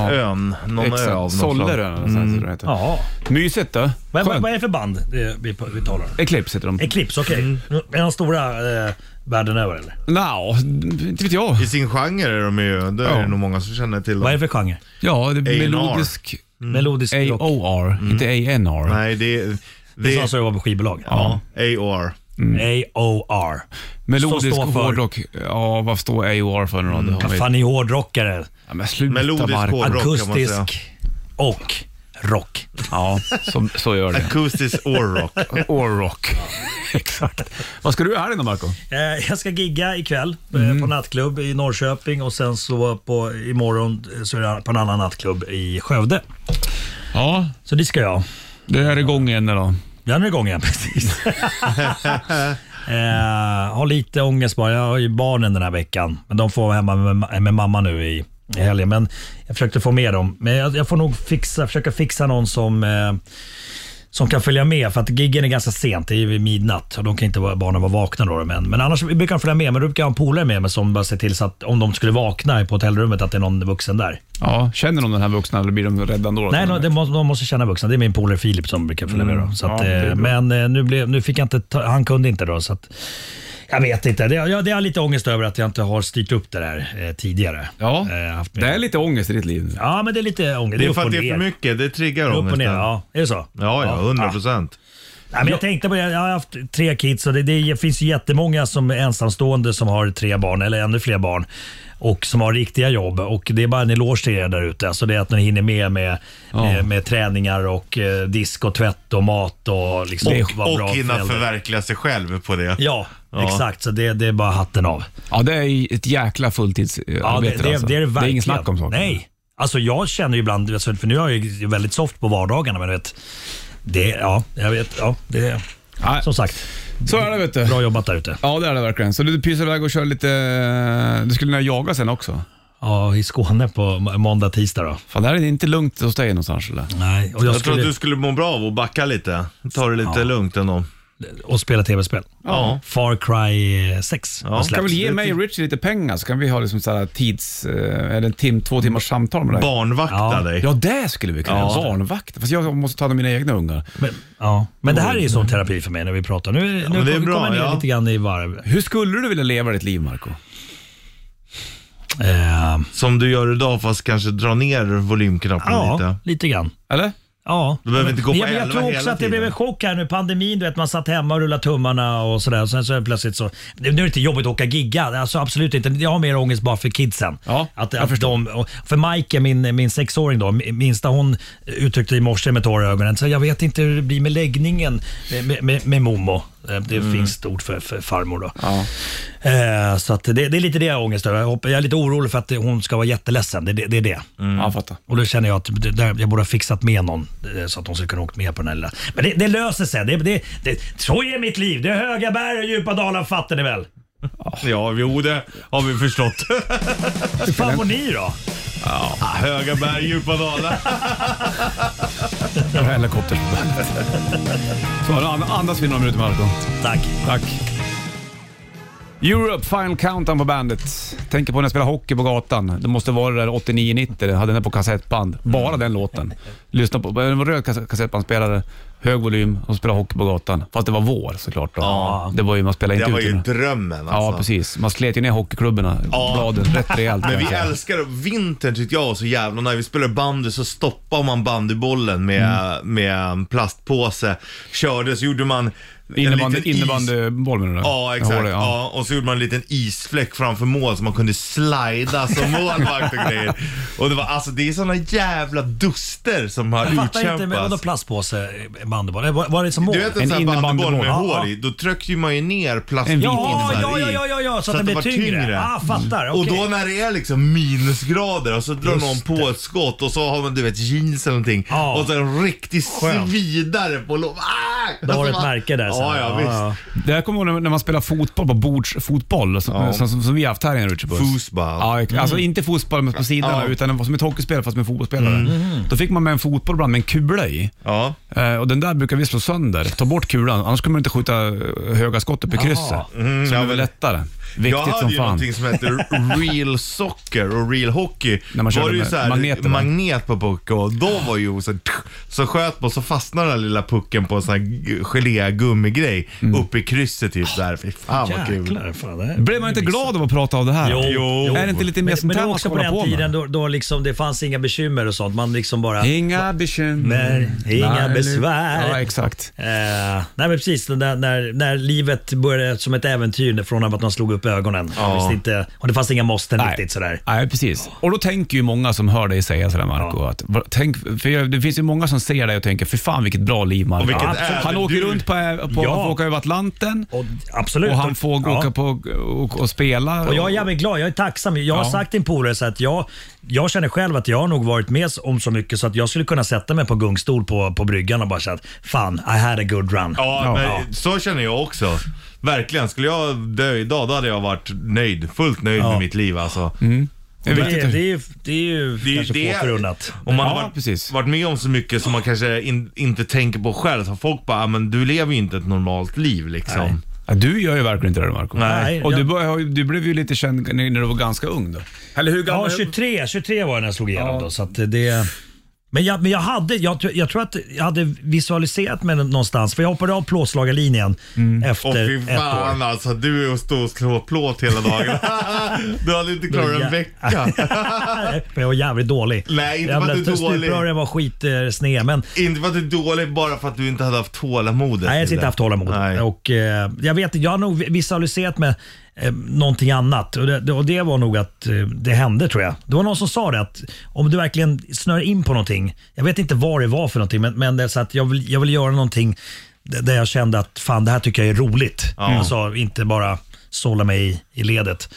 C: Sällön. Någon
B: Exakt.
C: ö av något slag. Mm.
B: Sollerön eller sånt heter det.
H: Ja.
B: Mysigt då.
H: Vad, vad,
B: Skönt.
H: vad är det för band det vi, vi talar om?
B: Eclipse heter de.
H: Eclipse, okej.
B: Mm.
H: Är de stora eh, världen över eller?
B: Nja, inte vet jag.
C: I sin genre är de ju, det är
B: Ja.
C: det nog många som känner till
H: Vad är
C: dem.
H: det för genre?
B: Ja, det är
C: A&R.
B: melodisk
H: Melodisk
B: Mm.
H: rock.
B: AOR, inte ANR.
C: Nej, det är...
H: Det
C: Det
H: sa
C: är
H: alltså jag var på skivbolag. Mm.
C: ja, AOR.
B: Mm.
H: AOR.
B: Melodisk
H: Står- står för-
B: hårdrock. Ja, vad står AOR för nu då? Det har vi-
H: Vad fan är hårdrockare?
B: Ja, men sluta
C: Melodisk
B: Marco.
C: hårdrock. kan man säga.
H: Akustisk och rock.
B: Ja, så, så gör det.
H: [laughs]
C: Acoustic or rock.
B: [laughs] Or rock. [laughs] Exakt. Vad ska du göra här inne Marco?
H: Eh, Jag ska gigga ikväll eh,
B: Mm.
H: på nattklubb i Norrköping och sen så på, imorgon eh, så är jag på en annan nattklubb i Skövde.
B: Ja,
H: Så det ska jag.
B: det är igång igen då.
H: Den är igång igen precis. eh, har lite ångest bara. Jag har ju barnen den här veckan. Men de får vara hemma med, ma- med mamma nu i, i helgen. Men jag försökte få med dem. Men jag, jag får nog fixa, försöka fixa någon som eh, som kan följa med för att giggen är ganska sent, det är ju vid midnatt och de kan inte vara, barnen vara vakna då. Men, men annars brukar de följa med, men då brukar jag ha en polare med mig som bara ser till så att om de skulle vakna på hotellrummet att det är någon vuxen där.
B: Ja, känner de den här vuxna eller blir de rädda ändå?
H: Nej, de, de, måste, de måste känna vuxna. Det är min polare Filip som brukar följa med. Då.
C: Mm.
H: Så
B: Ja,
H: att,
B: det är bra.
H: eh, men eh, nu, blev, nu fick jag inte, ta, han kunde inte då. Så att, jag vet inte. Det, jag, det har lite ångest över att jag inte har styrt upp det där eh, tidigare.
B: Ja,
H: Eh, haft med-
B: det är lite ångest i ditt liv nu.
H: Ja, men det är lite ångest.
C: Det är
H: upp
C: för
H: och
C: att det är
H: ner.
C: för mycket. Det triggar
H: Upp och ner,
C: ångesten.
H: ja. Är det så?
C: Ja, ja, 100 procent.
H: Nej, men jag tänkte på det. Jag har haft tre kids och det, det finns ju jättemånga som är ensamstående som har tre barn eller ännu fler barn och som har riktiga jobb. Och Det är bara en eloge till er där ute. Alltså det är att ni hinner med med, med, med träningar och eh, disk och tvätt och mat och liksom
C: Och,
H: vara
C: och hinna
H: förälder.
C: förverkliga sig själv på det.
H: Ja,
C: Ja.
H: exakt. Så det, det är bara hatten av.
B: Ja, det är ett jäkla fulltidsarbete
H: Ja, det, det,
B: alltså.
H: det är det verkligen.
B: är inget snack om saken.
H: Nej. Alltså jag känner ju ibland, alltså, för nu är jag ju väldigt soft på vardagarna, men du vet. Det, ja, jag vet. Ja, det,
B: Nej.
H: som sagt,
B: Så är det vet du.
H: bra jobbat där ute.
B: Ja, det är det verkligen. Så du pyser iväg och kör lite... eh, Du skulle kunna jaga sen också.
H: Ja, i Skåne på må- måndag, tisdag då.
B: Fan, det här är inte lugnt hos dig någonstans eller?
H: Nej, och jag,
C: Jag tror
H: skulle...
C: att du skulle må bra av att backa lite. Ta det lite lugnt ändå.
H: Och spela tv-spel.
C: Ja.
H: Far Cry eh, 6 har
B: Du kan
H: släppts.
B: väl ge mig och Richie lite pengar så kan vi ha liksom så här tids... eh, Eller en tim, två timmars samtal med dig.
C: Barnvakta
H: Ja.
C: dig.
B: Ja, det skulle vi kunna
C: Ja.
B: göra. Barnvakt. Fast jag måste ta hand om mina egna ungar.
H: Men, ja. men det här är ju som terapi för mig när vi pratar. Nu, nu
C: men det är
H: kommer vi
C: bra,
H: komma ner
C: Mm. ja.
H: lite grann i varv.
B: Hur skulle du vilja leva ditt liv, Marco?
H: Eh,
C: Som du gör idag fast kanske dra ner volymknappen
H: ja,
C: lite.
H: lite. grann.
B: Eller?
H: Ja.
C: Du behöver
H: Men-
C: inte gå på
H: jag, jag
C: elva
H: tror
C: hela
H: också att det
C: tiden.
H: blev en chock här nu. Pandemin, du vet man satt hemma och rullade tummarna och sådär. Sen så är det plötsligt så. Nu är det inte jobbigt att åka gigga. Alltså absolut inte. Jag har mer ångest bara för kidsen.
B: Ja,
H: att,
B: jag
H: att
B: förstår.
H: de, och för Mike, min, min sexåring då, min- minsta hon uttryckte i morse med tårar i ögonen. Så jag vet inte hur det blir med läggningen med, med, med, med Momo. Eh, Det
C: Mm.
H: finns ett ord för, för farmor då. Eh, så att det, det är lite det jag har ångest över. Jag hopp- Jag är lite orolig för att hon ska vara jätteledsen. Det, det, det är det.
B: Ja, jag fattar.
H: Och då känner jag att det där, jag borde ha fixat med någon eh, så att de skulle kunna åkt med på den här lilla. Men det, det löser sig. Det, det, det, så är mitt liv. Det är höga berg och djupa dalar fattar ni väl?
C: Ja, jo det har vi förstått.
H: Hur fan mår ni då?
C: [laughs] Höga berg, djupa dalar.
B: Jag har helikopter på bandet. Så, nu and- andas vi några minuter, Marco.
H: Tack.
B: Tack. Europe Final Countdown på bandet. Tänker på när jag spelade hockey på gatan. Det måste vara det där 89-90. Jag hade den på kassettband. Bara den låten. Lyssna på det var röd kass- kassettbandspelare, hög volym och spela hockey på gatan. Fast det var vår såklart. Då.
C: Ja.
B: Det var ju, man spelade
C: Det
B: inte
C: var
B: ut.
C: ju
B: den.
C: drömmen alltså.
B: Ja, precis. Man slet ju ner hockeyklubborna,
C: Ja.
B: bladen, rätt rejält. kan
C: Men vi
B: jag säga.
C: älskar vintern tyckte jag var så jävla när vi spelade bandy så stoppade man bandybollen med, med en plastpåse. Körde så gjorde man en
B: Innebandy,
C: liten is-
B: innebandyboll menar du?
C: Ja,
B: Jag
C: exakt.
B: håller,
C: Ja, och så gjorde man en liten isfläck framför mål så man kunde slida som målvakt och grejer. Och det var alltså, det är såna jävla duster som har
H: Jag fattar inte. Men vadå
C: utkämpats.
H: plastpåse, eh, bandyboll? Var, var det som mål?
C: Du vet
B: En
C: en sån här
B: innebandyboll.
C: bandyboll med
H: Ja,
C: hår
H: ja.
C: i, då tryckte man ju ner
B: En
C: plasten
B: vit
H: Ja,
C: in
H: ja,
C: där
H: ja,
C: i.
H: ja, ja, ja, så, att den blir
C: var
H: tyngre. Ah, fattar.
C: Och
H: Okej.
C: då när det är liksom minusgrader och så drar
H: Just
C: någon på ett skott och så har man du vet jeans eller någonting
H: Ja.
C: och så en riktig
H: Skönt.
C: svidare på lov. Ah! Exakt!
H: Då har du ett
C: Alltså, man-
H: märke där sen.
C: Ja, ja, visst.
B: Det här kommer jag ihåg när- när man spelar fotboll på bordsfotboll som,
C: Ja.
B: som, som, som vi har haft här i en Rutschebus.
C: Fotboll.
B: Ja, ex- alltså inte fotboll men på sidorna
C: Ja.
B: utan det var som ett hockeyspel fast med fotbollsspelare. Då fick man med en fotboll ibland med en kula i.
C: Ja.
B: Eh, och den där brukar vi slå sönder. Ta bort kulan, annars kommer man inte skjuta eh, höga skott upp i krysset.
C: Mm,
B: så det
C: ja,
B: är väl
C: men-
B: lättare.
C: Jag
B: Viktigt
C: hade
B: som
C: ju
B: fan.
C: någonting som hette real soccer och real hockey.
B: När man körde
C: var det ju
B: med
C: så här,
B: magneter, va?
C: magnet på pucken och då var ju så här, så sköt man så fastnade den här lilla pucken på en sån här g- gelégummigrej
B: Mm.
C: uppe i krysset typ där. Fy fan vad kul.
H: Jäklar. Fan, det här-
B: Blev man inte glad av att prata om det här?
H: Jo, jo.
B: Är det inte lite mer
H: Men, men
B: sånt
H: det
B: här
H: var
B: man
H: också
B: ska
H: på
B: hålla
H: den
B: på
H: tiden
B: med?
H: då, då liksom det fanns inga bekymmer och sånt. Man liksom bara...
B: Inga bekymmer.
H: Nej, inga
B: Nej, nu-
H: besvär.
B: Ja, exakt.
H: Eh, nej men precis, den där, när, när livet började som ett äventyr från att man slog upp ögonen. Man visste inte, och det fanns inga måsten
B: Nej.
H: riktigt sådär.
B: Nej, precis. Och då tänker ju många som hör dig säga sådär Marco att va- tänk, för jag- det finns ju många som ser dig och tänker för fan vilket bra liv Marco
C: Och vilket
B: har."
C: äventyr.
B: Han åker runt på, på
H: Ja.
B: han får åka över Atlanten
H: Och, absolut.
B: och han får
H: Ja.
B: åka på och, och spela.
H: Och jag är jävligt glad, jag är tacksam. Jag har
B: Ja.
H: sagt till en polare så att jag, jag känner själv att jag har nog varit med om så mycket så att jag skulle kunna sätta mig på gungstol på, på bryggan och bara säga att fan, I had a good run.
C: Ja,
B: Ja.
C: men
H: Ja.
C: så känner jag också. Verkligen, skulle jag dö idag då hade jag varit nöjd, fullt nöjd
H: Ja.
C: med mitt liv alltså.
B: det är
H: Det, är-
B: viktigt.
H: det, är, ju- det är ju
C: Det är ju
H: kanske
C: det-
H: få förunnat.
C: Om man
B: Ja,
C: har varit,
B: precis.
C: varit med om så mycket som man kanske in, inte tänker på själv. Så folk bara, "Ah, men du lever ju inte ett normalt liv liksom.
H: Nej.
B: Ja, du gör ju verkligen inte det Marco
H: Nej,
B: Och du,
H: jag-
B: bör, du blev ju lite känd när när du var ganska ung då. Eller hur
H: Ja,
B: gammal?
H: 23, 23 var jag när jag slog igenom då. Så att det, men jag, men jag, hade, jag, tr- jag tror att jag hade visualiserat mig någonstans, för jag hoppade av plåtslagarlinjen
C: Mm. Åh
H: efter
C: fy
H: ett år. [laughs]
C: fan alltså, du är och står och slår plåt hela dagen. [laughs] du hade inte klarat en vecka.
H: [laughs] men jag var jävligt dålig.
C: Nej, inte för att du är dålig.
H: Stuprören var skitsned, men
C: inte för att du är dålig, bara för att du inte hade haft tålamodet.
H: Nej, jag har
C: till
H: inte
C: det.
H: haft tålamod.
C: Nej.
H: Och, eh, jag, vet, jag har nog visualiserat med eh, någonting annat och det, det- och det var nog att eh, det hände tror jag. Det var någon som sa det att om du verkligen snör in på någonting, jag vet inte vad det var för någonting, men, men det är så att jag, vill, jag vill göra någonting d- där jag kände att fan det här tycker jag är roligt.
C: Ja.
H: Alltså inte bara sålla mig i, i ledet.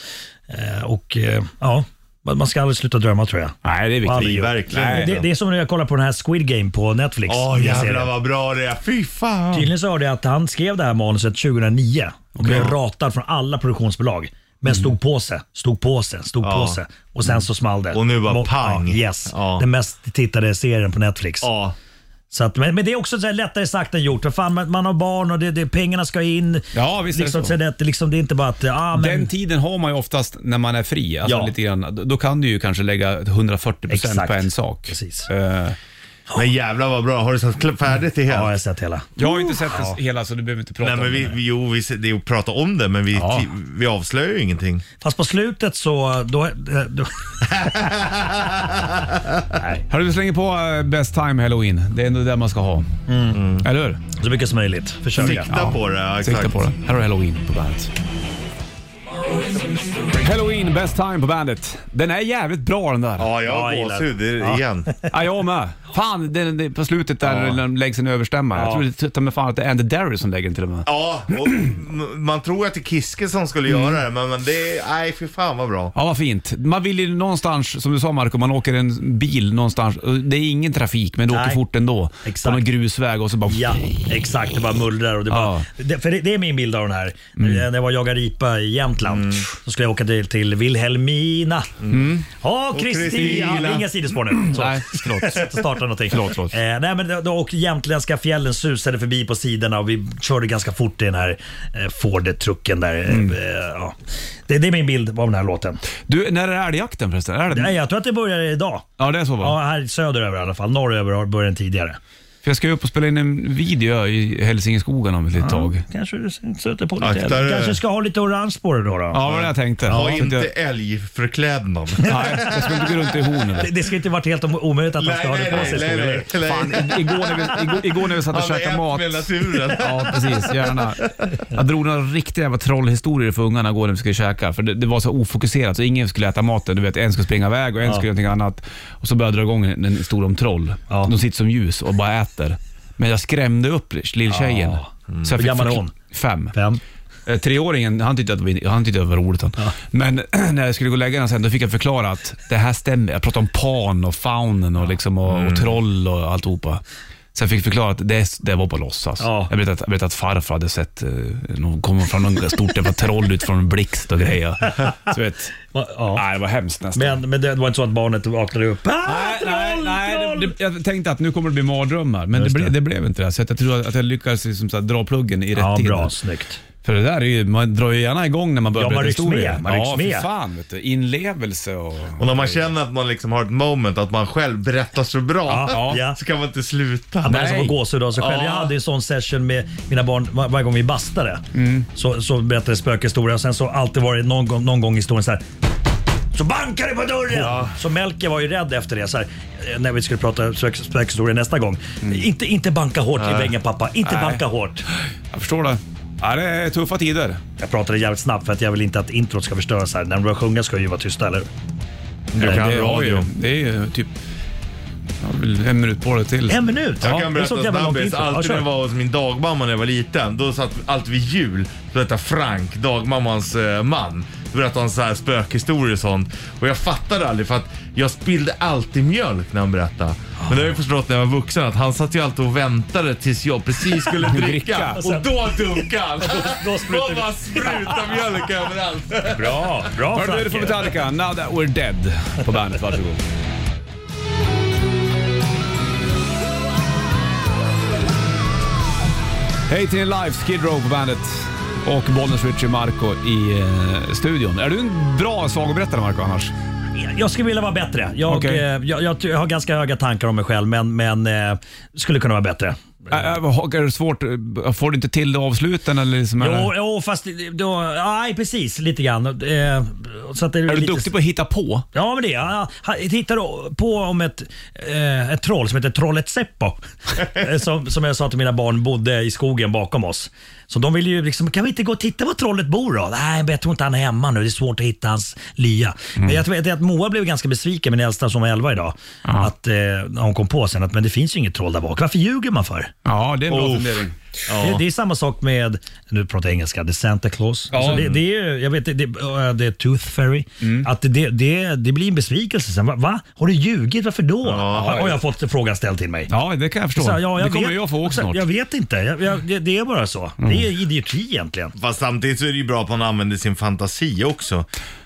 H: Eh, och eh, ja, man man ska aldrig sluta drömma tror jag.
B: Nej, det är viktigt.
H: Aldrig gjort.
C: verkligen
H: Det,
C: inte.
H: det, det är som när jag kollar på den här Squid Game på Netflix.
C: Åh
H: Den serien.
C: jävlar vad bra det är. Fy fan.
H: Tydligen så hörde jag att han skrev det här manuset 2009 och blev ratad från alla produktionsbolag. Men stod på sig, stod på sig, stod på
C: Mm. Ja. Mm.
H: sig. Och sen så small det.
C: Och nu bara
H: Mo-
C: pang.
H: Ja, yes.
C: Ja.
H: Den mest tittade serien på Netflix.
C: Ja.
H: Så att, men, men det är också så här lättare sagt än gjort. För fan, man, man har barn och det, det, pengarna ska in.
B: Ja, visst är det
H: liksom,
B: så.
H: så det, liksom, det är inte bara att... Ah, men,
B: Den tiden har man ju oftast när man är fri. Alltså
H: Ja.
B: lite grann, då- då kan du ju kanske lägga 140 procent
H: Exakt.
B: på en sak.
H: Precis.
B: Eh,
C: Men jävlar vad bra. Har du sett kl- färdigt det
H: ja, jag
C: helt?
H: har sett hela.
B: jag har ju inte sett det hela så du behöver inte prata
C: Nej men
B: om
C: vi,
B: det.
C: vi, jo, vi, s- det är att prata om det men vi,
B: Ja.
C: ti- vi avslöjar ju ingenting.
H: Fast på slutet så... Då, då,
B: Hörru, du slänger på eh, Best time halloween. Det är ändå det man ska ha.
H: Mm.
B: Mm. Eller hur?
H: så mycket som möjligt. Försöka.
C: Sikta på det, ja, exakt.
B: Sikta på det. Här har du halloween på bandet. Halloween, best time på bandet. Den är jävligt bra den där.
C: Ja, jag
H: Ja,
C: har
H: jag gillar
C: gåshud i- igen.
B: Ja, jag med. Fan, det, det, på slutet där när de läggs en överstämmare. Jag tror det- ta mig fan att det är Andy Derry som lägger den till och med.
C: Ja, och m- man tror att det är Kiske som skulle göra det, men, men det är... Nej, fy fan vad bra.
B: Ja, vad fint. Man vill ju någonstans, som du sa Marco, man åker en bil någonstans. och Det är ingen trafik, men du åker
H: Nej.
B: fort ändå.
H: Exakt.
B: På någon grusväg och så bara...
H: Ja, exakt. Det bara mullrar. Och det, bara, det, för det, det är min bild av den här.
B: Mm.
H: När jag var och jagade ripa i Jämtland så skulle jag åka till, till Vilhelmina.
B: Mm.
H: Ja, Kristina.
C: Kristina.
H: Ja, Inga sidospår nu. [laughs] Så.
B: Nej, förlåt.
H: Jag ska inte starta någonting.
B: Förlåt, förlåt.
H: Eh, nej, men då, då, och jämtländska fjällen susade förbi på sidorna och vi körde ganska fort i den här eh, Ford-trucken där. Eh,
B: Mm.
H: eh, ja. det, det är min bild av den här låten.
B: Du, när är älgjakten förresten? Är det...
H: Nej, jag tror att det börjar idag.
B: Ja, det är så va?
H: Ja, här söderöver i alla fall. Norröver har- börjar den tidigare.
B: För jag ska ju upp och spela in en video i Hälsingeskogen om ett litet tag.
H: Kanske du stöter på lite
C: Akta
H: eld.
C: dig.
H: kanske ska ha lite orange på det då. då.
B: Ja, det var det jag tänkte.
C: Ha
B: Så att
C: inte
B: jag,
C: älgförklädnad.
B: nej, [laughs] jag ska inte gå runt i hornet.
H: Det, det ska inte vara helt om- omöjligt att man ska ha det på
C: nej,
H: sig. skojar du?
C: nej, nej.
B: Fan, igår när vi, igår, igår när vi satt och
C: Han är
B: käkade
C: ett
B: mat.
C: med naturen.
B: Ja, precis. Gärna. Jag drog några riktiga jävla trollhistorier för ungarna igår när vi skulle käka. För det, det var så ofokuserat så ingen skulle äta maten. Du vet, en skulle springa iväg och en skulle göra någonting annat. Och så började jag dra igång en, en stor om troll.
H: Ja.
B: De sitter som ljus och bara äter. Men jag skrämde upp lilltjejen.
H: Ja. Mm.
B: Så jag
H: Hur gammal är
B: förkl-
H: hon?
B: Fem.
H: Fem.
B: Eh, Treåringen, han tyckte, att, vi- han tyckte att det var roligt. Han. Men [clears throat] när jag skulle gå och lägga den sen, då fick jag förklara
H: Mm.
B: att det här stämmer. Jag pratade om pan och faunen och, liksom, och, och troll och alltihopa. Sen fick jag förklara att det, det var på låtsas.
H: Ja.
B: Jag berättade, att- jag berättade att farfar hade sett, eh, någon kom fram någon stort jävla troll ut från en blixt och grejer. Så vet,
H: Va- Ja.
B: nej, det var hemskt nästan.
H: Men, men det var inte så att barnet vaknade upp. Ah,
B: Nej, nej,
H: troll,
B: nej
H: troll!
B: det, det, jag tänkte att nu kommer det bli mardrömmar, men det, ble, det blev inte det. Så att jag tror att jag lyckades liksom så här, dra pluggen i rätt
H: Ja,
B: tid.
H: bra. Snyggt.
B: För det där är ju, man drar ju gärna igång när man börjar
H: Ja, man
B: berätta
H: rycks
B: historier.
H: med. Man rycks
B: ja,
H: med.
B: för fan. Vet du. Inlevelse och...
C: Och när man känner att man liksom har ett moment, att man själv berättar så bra,
H: Ja, ja.
C: så kan man inte sluta.
H: Att man
B: Nej.
H: nästan får gåshud av sig själv.
C: Ja.
H: Jag hade en sån session med mina barn var, varje gång vi bastade. Så, så berättade jag spökhistoria och sen så alltid var det någon, gång- någon gång i historien så här. Så bankar det på dörren! Så Melker var ju rädd efter det så här, eh, när vi skulle prata spök, spökhistoria nästa gång. Inte, inte banka hårt i väggen pappa, inte
B: Nej.
H: banka hårt.
B: Jag förstår det. Ja, det är tuffa tider.
H: Jag pratade jävligt snabbt för att jag vill inte att introt ska förstöras här. När de börjar sjunga ska jag ju vara tysta, eller hur?
C: Du
B: det,
C: kan
B: är
C: radio.
B: ju- det är ju typ... Jag har väl en minut på det till.
H: En minut!
C: Jag kan
H: Ja, det är
C: berätta
H: sånt jävla långt
C: snabbis.
H: intro. Ja,
C: Alltid
H: kör.
C: när jag var hos min dagmamma när jag var liten, då satt vi alltid vid jul. Då hette Frank, dagmammans eh, man. Då berättade han så här spökhistorier och sånt. Och jag fattade aldrig för att jag spillde alltid mjölk när han berättade. Men det har jag förstått när jag var vuxen att han satt ju alltid och väntade tills jag precis
H: [laughs]
C: skulle dricka. och då dunkade han.
H: Alltså. då sprutade
C: Då bara sprutade mjölk överallt.
H: Bra, bra
B: Hörde du det från
H: Frank.
B: Metallica? Now that we're dead på bandet. Varsågod. Hej till live, Skid Row på bandet och Bollnäs Richie Marco i eh, studion. Är du en bra sagoberättare Marco annars?
H: Jag skulle vilja vara bättre. Jag,
B: Okej.
H: eh, jag, jag, jag har ganska höga tankar om mig själv, men, men eh, skulle kunna vara bättre.
B: Äh, äh, har- är det svårt? Äh, Får du inte till det avsluten eller liksom? är
H: Jo,
B: det-
H: jo fast det- då, nej, precis lite grann. Eh, så att det
B: är du
H: lite,
B: duktig på att hitta på?
H: Ja, men det är jag. Jag hittade på om ett, eh, ett troll som heter Trollet Seppo. Eh, som, som jag sa till mina barn bodde i skogen bakom oss. Så de ville ju liksom, kan vi inte gå och titta var trollet bor då? Nej, men jag tror inte han är hemma nu. Det är svårt att hitta hans lya. Men jag vet att Moa blev ganska besviken, min äldsta som var 11 idag. Att, eh, när hon kom på sen att men det finns ju inget troll där bak. Varför ljuger man för?
B: Ja, det är en bra
C: Oh.
B: fundering.
H: Det, det är samma sak med, nu pratar jag engelska, The Santa Claus. Alltså det, det är ju, jag vet, det, det, äh, det är Tooth Fairy.
B: Mm.
H: Att det, det, det blir en besvikelse sen. Va? Va? Har du ljugit? Varför då? har jag fått frågan ställd till mig.
B: Ja, det kan jag förstå.
H: Så här, ja,
B: det kommer
H: vet-
B: jag få också
H: så här,
B: snart. Mm.
H: Jag vet inte. Jag, jag, det, det är bara så. Det är idioti egentligen.
C: Fast samtidigt så är det ju bra att man använder sin fantasi också.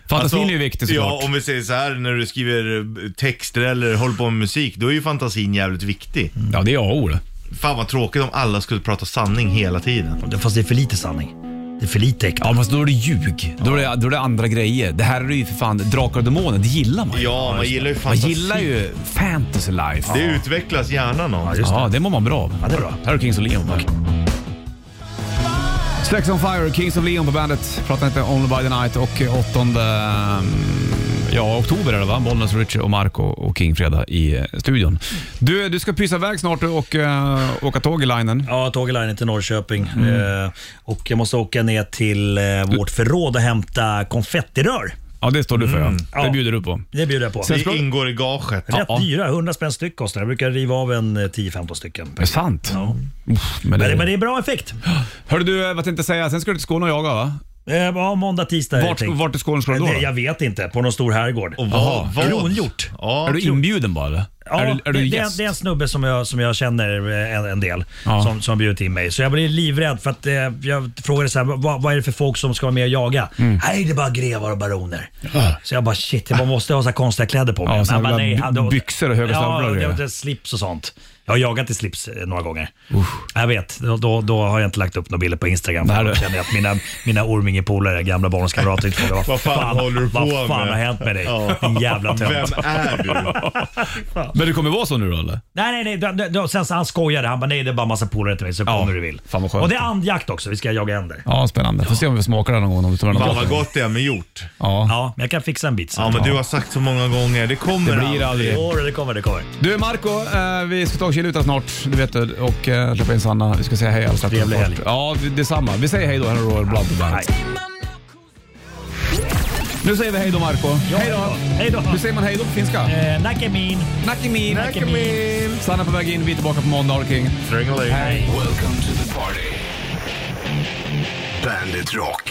B: Fantasin är ju viktig såklart.
C: Alltså, Ja, om vi säger så här när du skriver eh, texter eller håller på med musik, då är ju fantasin jävligt viktig.
B: Ja, det är jag ord.
C: Fan vad tråkigt om alla skulle prata sanning hela tiden.
H: Fast det är för lite sanning. Det är för lite äkta.
B: Ja, fast då är det ljug. Då är det, då är det andra grejer. Det här är ju för fan drakar och demoner. Det gillar man ju.
C: Ja, man gillar ju
B: Man
C: fantasi.
B: gillar ju fantasy life.
C: Det utvecklas hjärnan av.
H: just
B: Ja, det mår man bra av.
H: Ja, det är bra.
B: Här är Kings of Leon. Sex on Fire, Kings of Leon på bandet. Pratar inte Only by the Night och 8 ja, oktober är det va? Bollnäs, Richie och Marco och King Freda i eh, studion. Du, du ska pysa iväg snart du och eh, åka tåg i linen.
H: Ja, tåglinen till Norrköping.
B: Mm.
H: Eh, och jag måste åka ner till eh, vårt förråd och hämta konfettirör.
B: Ja, det står du för Mm. ja. Det
H: Ja.
B: bjuder du på.
H: Det bjuder jag på.
B: Sen ska-
C: Det ingår i gaget.
H: Rätt dyra, 100 spänn styck kostar det. Jag brukar riva av en eh, 10-15 stycken.
B: Är det sant?
H: Ja.
B: Uff, men
H: Men, det, men
B: det...
H: det är bra effekt.
B: Hörru du, eh, vad tänkte jag säga? Sen ska du till Skåne och jaga va?
H: Eh, Ja, måndag, tisdag. är det
B: Vart,
H: tänkt.
B: vart i Skåne ska du då?
H: Det-
B: då?
H: Jag vet inte. På någon stor herrgård.
C: Och vad? vad?
H: Kronhjort.
B: Är
C: Ja.
B: du inbjuden bara eller?
H: Ja,
B: är du, är du
H: det, det,
B: gäst?
H: är, det är en snubbe som jag, som jag känner eh, en, en del
B: Ja.
H: som, som bjudit in mig. Så jag blir livrädd för att eh, jag frågade så här, vad, vad är det för folk som ska vara med och jaga?
B: Mm.
H: Nej, det är bara grevar och baroner. Så jag bara shit, jag bara måste ha så här konstiga kläder på mig.
B: Ja,
H: Han
B: så här
H: bara,
B: jävla
H: nej, han-
B: by- byxor och höga stövlar och
H: Ja, det,
B: grejer.
H: det, slips och sånt. Jag har jagat i slips eh, några gånger. Jag vet, då, då, då har jag inte lagt upp några bilder på Instagram.
B: Nej,
H: För
B: du-
H: då känner jag att mina, mina Orminge-polare, gamla barndomskamrater, inte frågar
C: Vad fan håller du på
H: Vad fan
C: med?"
H: har hänt med dig?
C: Ja.
H: Din jävla tönt.
C: Vem är du?
H: [laughs]
B: Men det kommer vara så nu då eller?
H: Nej, nej, nej. Då, då, då, sen så han skojade. Han bara, nej det är bara massa polare till mig så kom när du vill.
B: Fan, vad skönt.
H: och det är andjakt också. Vi ska jaga änder.
B: Ja, spännande. Får se om vi smakar det någon gång. Om vi tar
C: Fan
B: någon
C: vad
B: gång.
C: gott det är med hjort.
B: Ja.
H: Ja, men jag kan fixa en bit sen.
C: Ja men du har sagt så många gånger, det kommer
B: Det blir aldrig.
H: Jo, det kommer, det kommer.
B: Du Marco, eh, vi ska ta och kiluta snart. Du vet du. Och eh, släppa in Sanna. Vi ska säga hej alldeles strax.
H: Trevlig helg.
B: Ja, vi- detsamma. Vi säger hej då. Här är Royal Blood på bandet. Nu säger vi hej då Marco.
H: Hej då. Hej då.
B: Hur säger man hej då på finska?
H: Eh, Nackamin.
B: Nakimin.
H: Nackamin.
B: Sanna på väg in. Vi är tillbaka på måndag, Har du King.
C: aldrig.
A: Welcome to the party. Bandit Rock.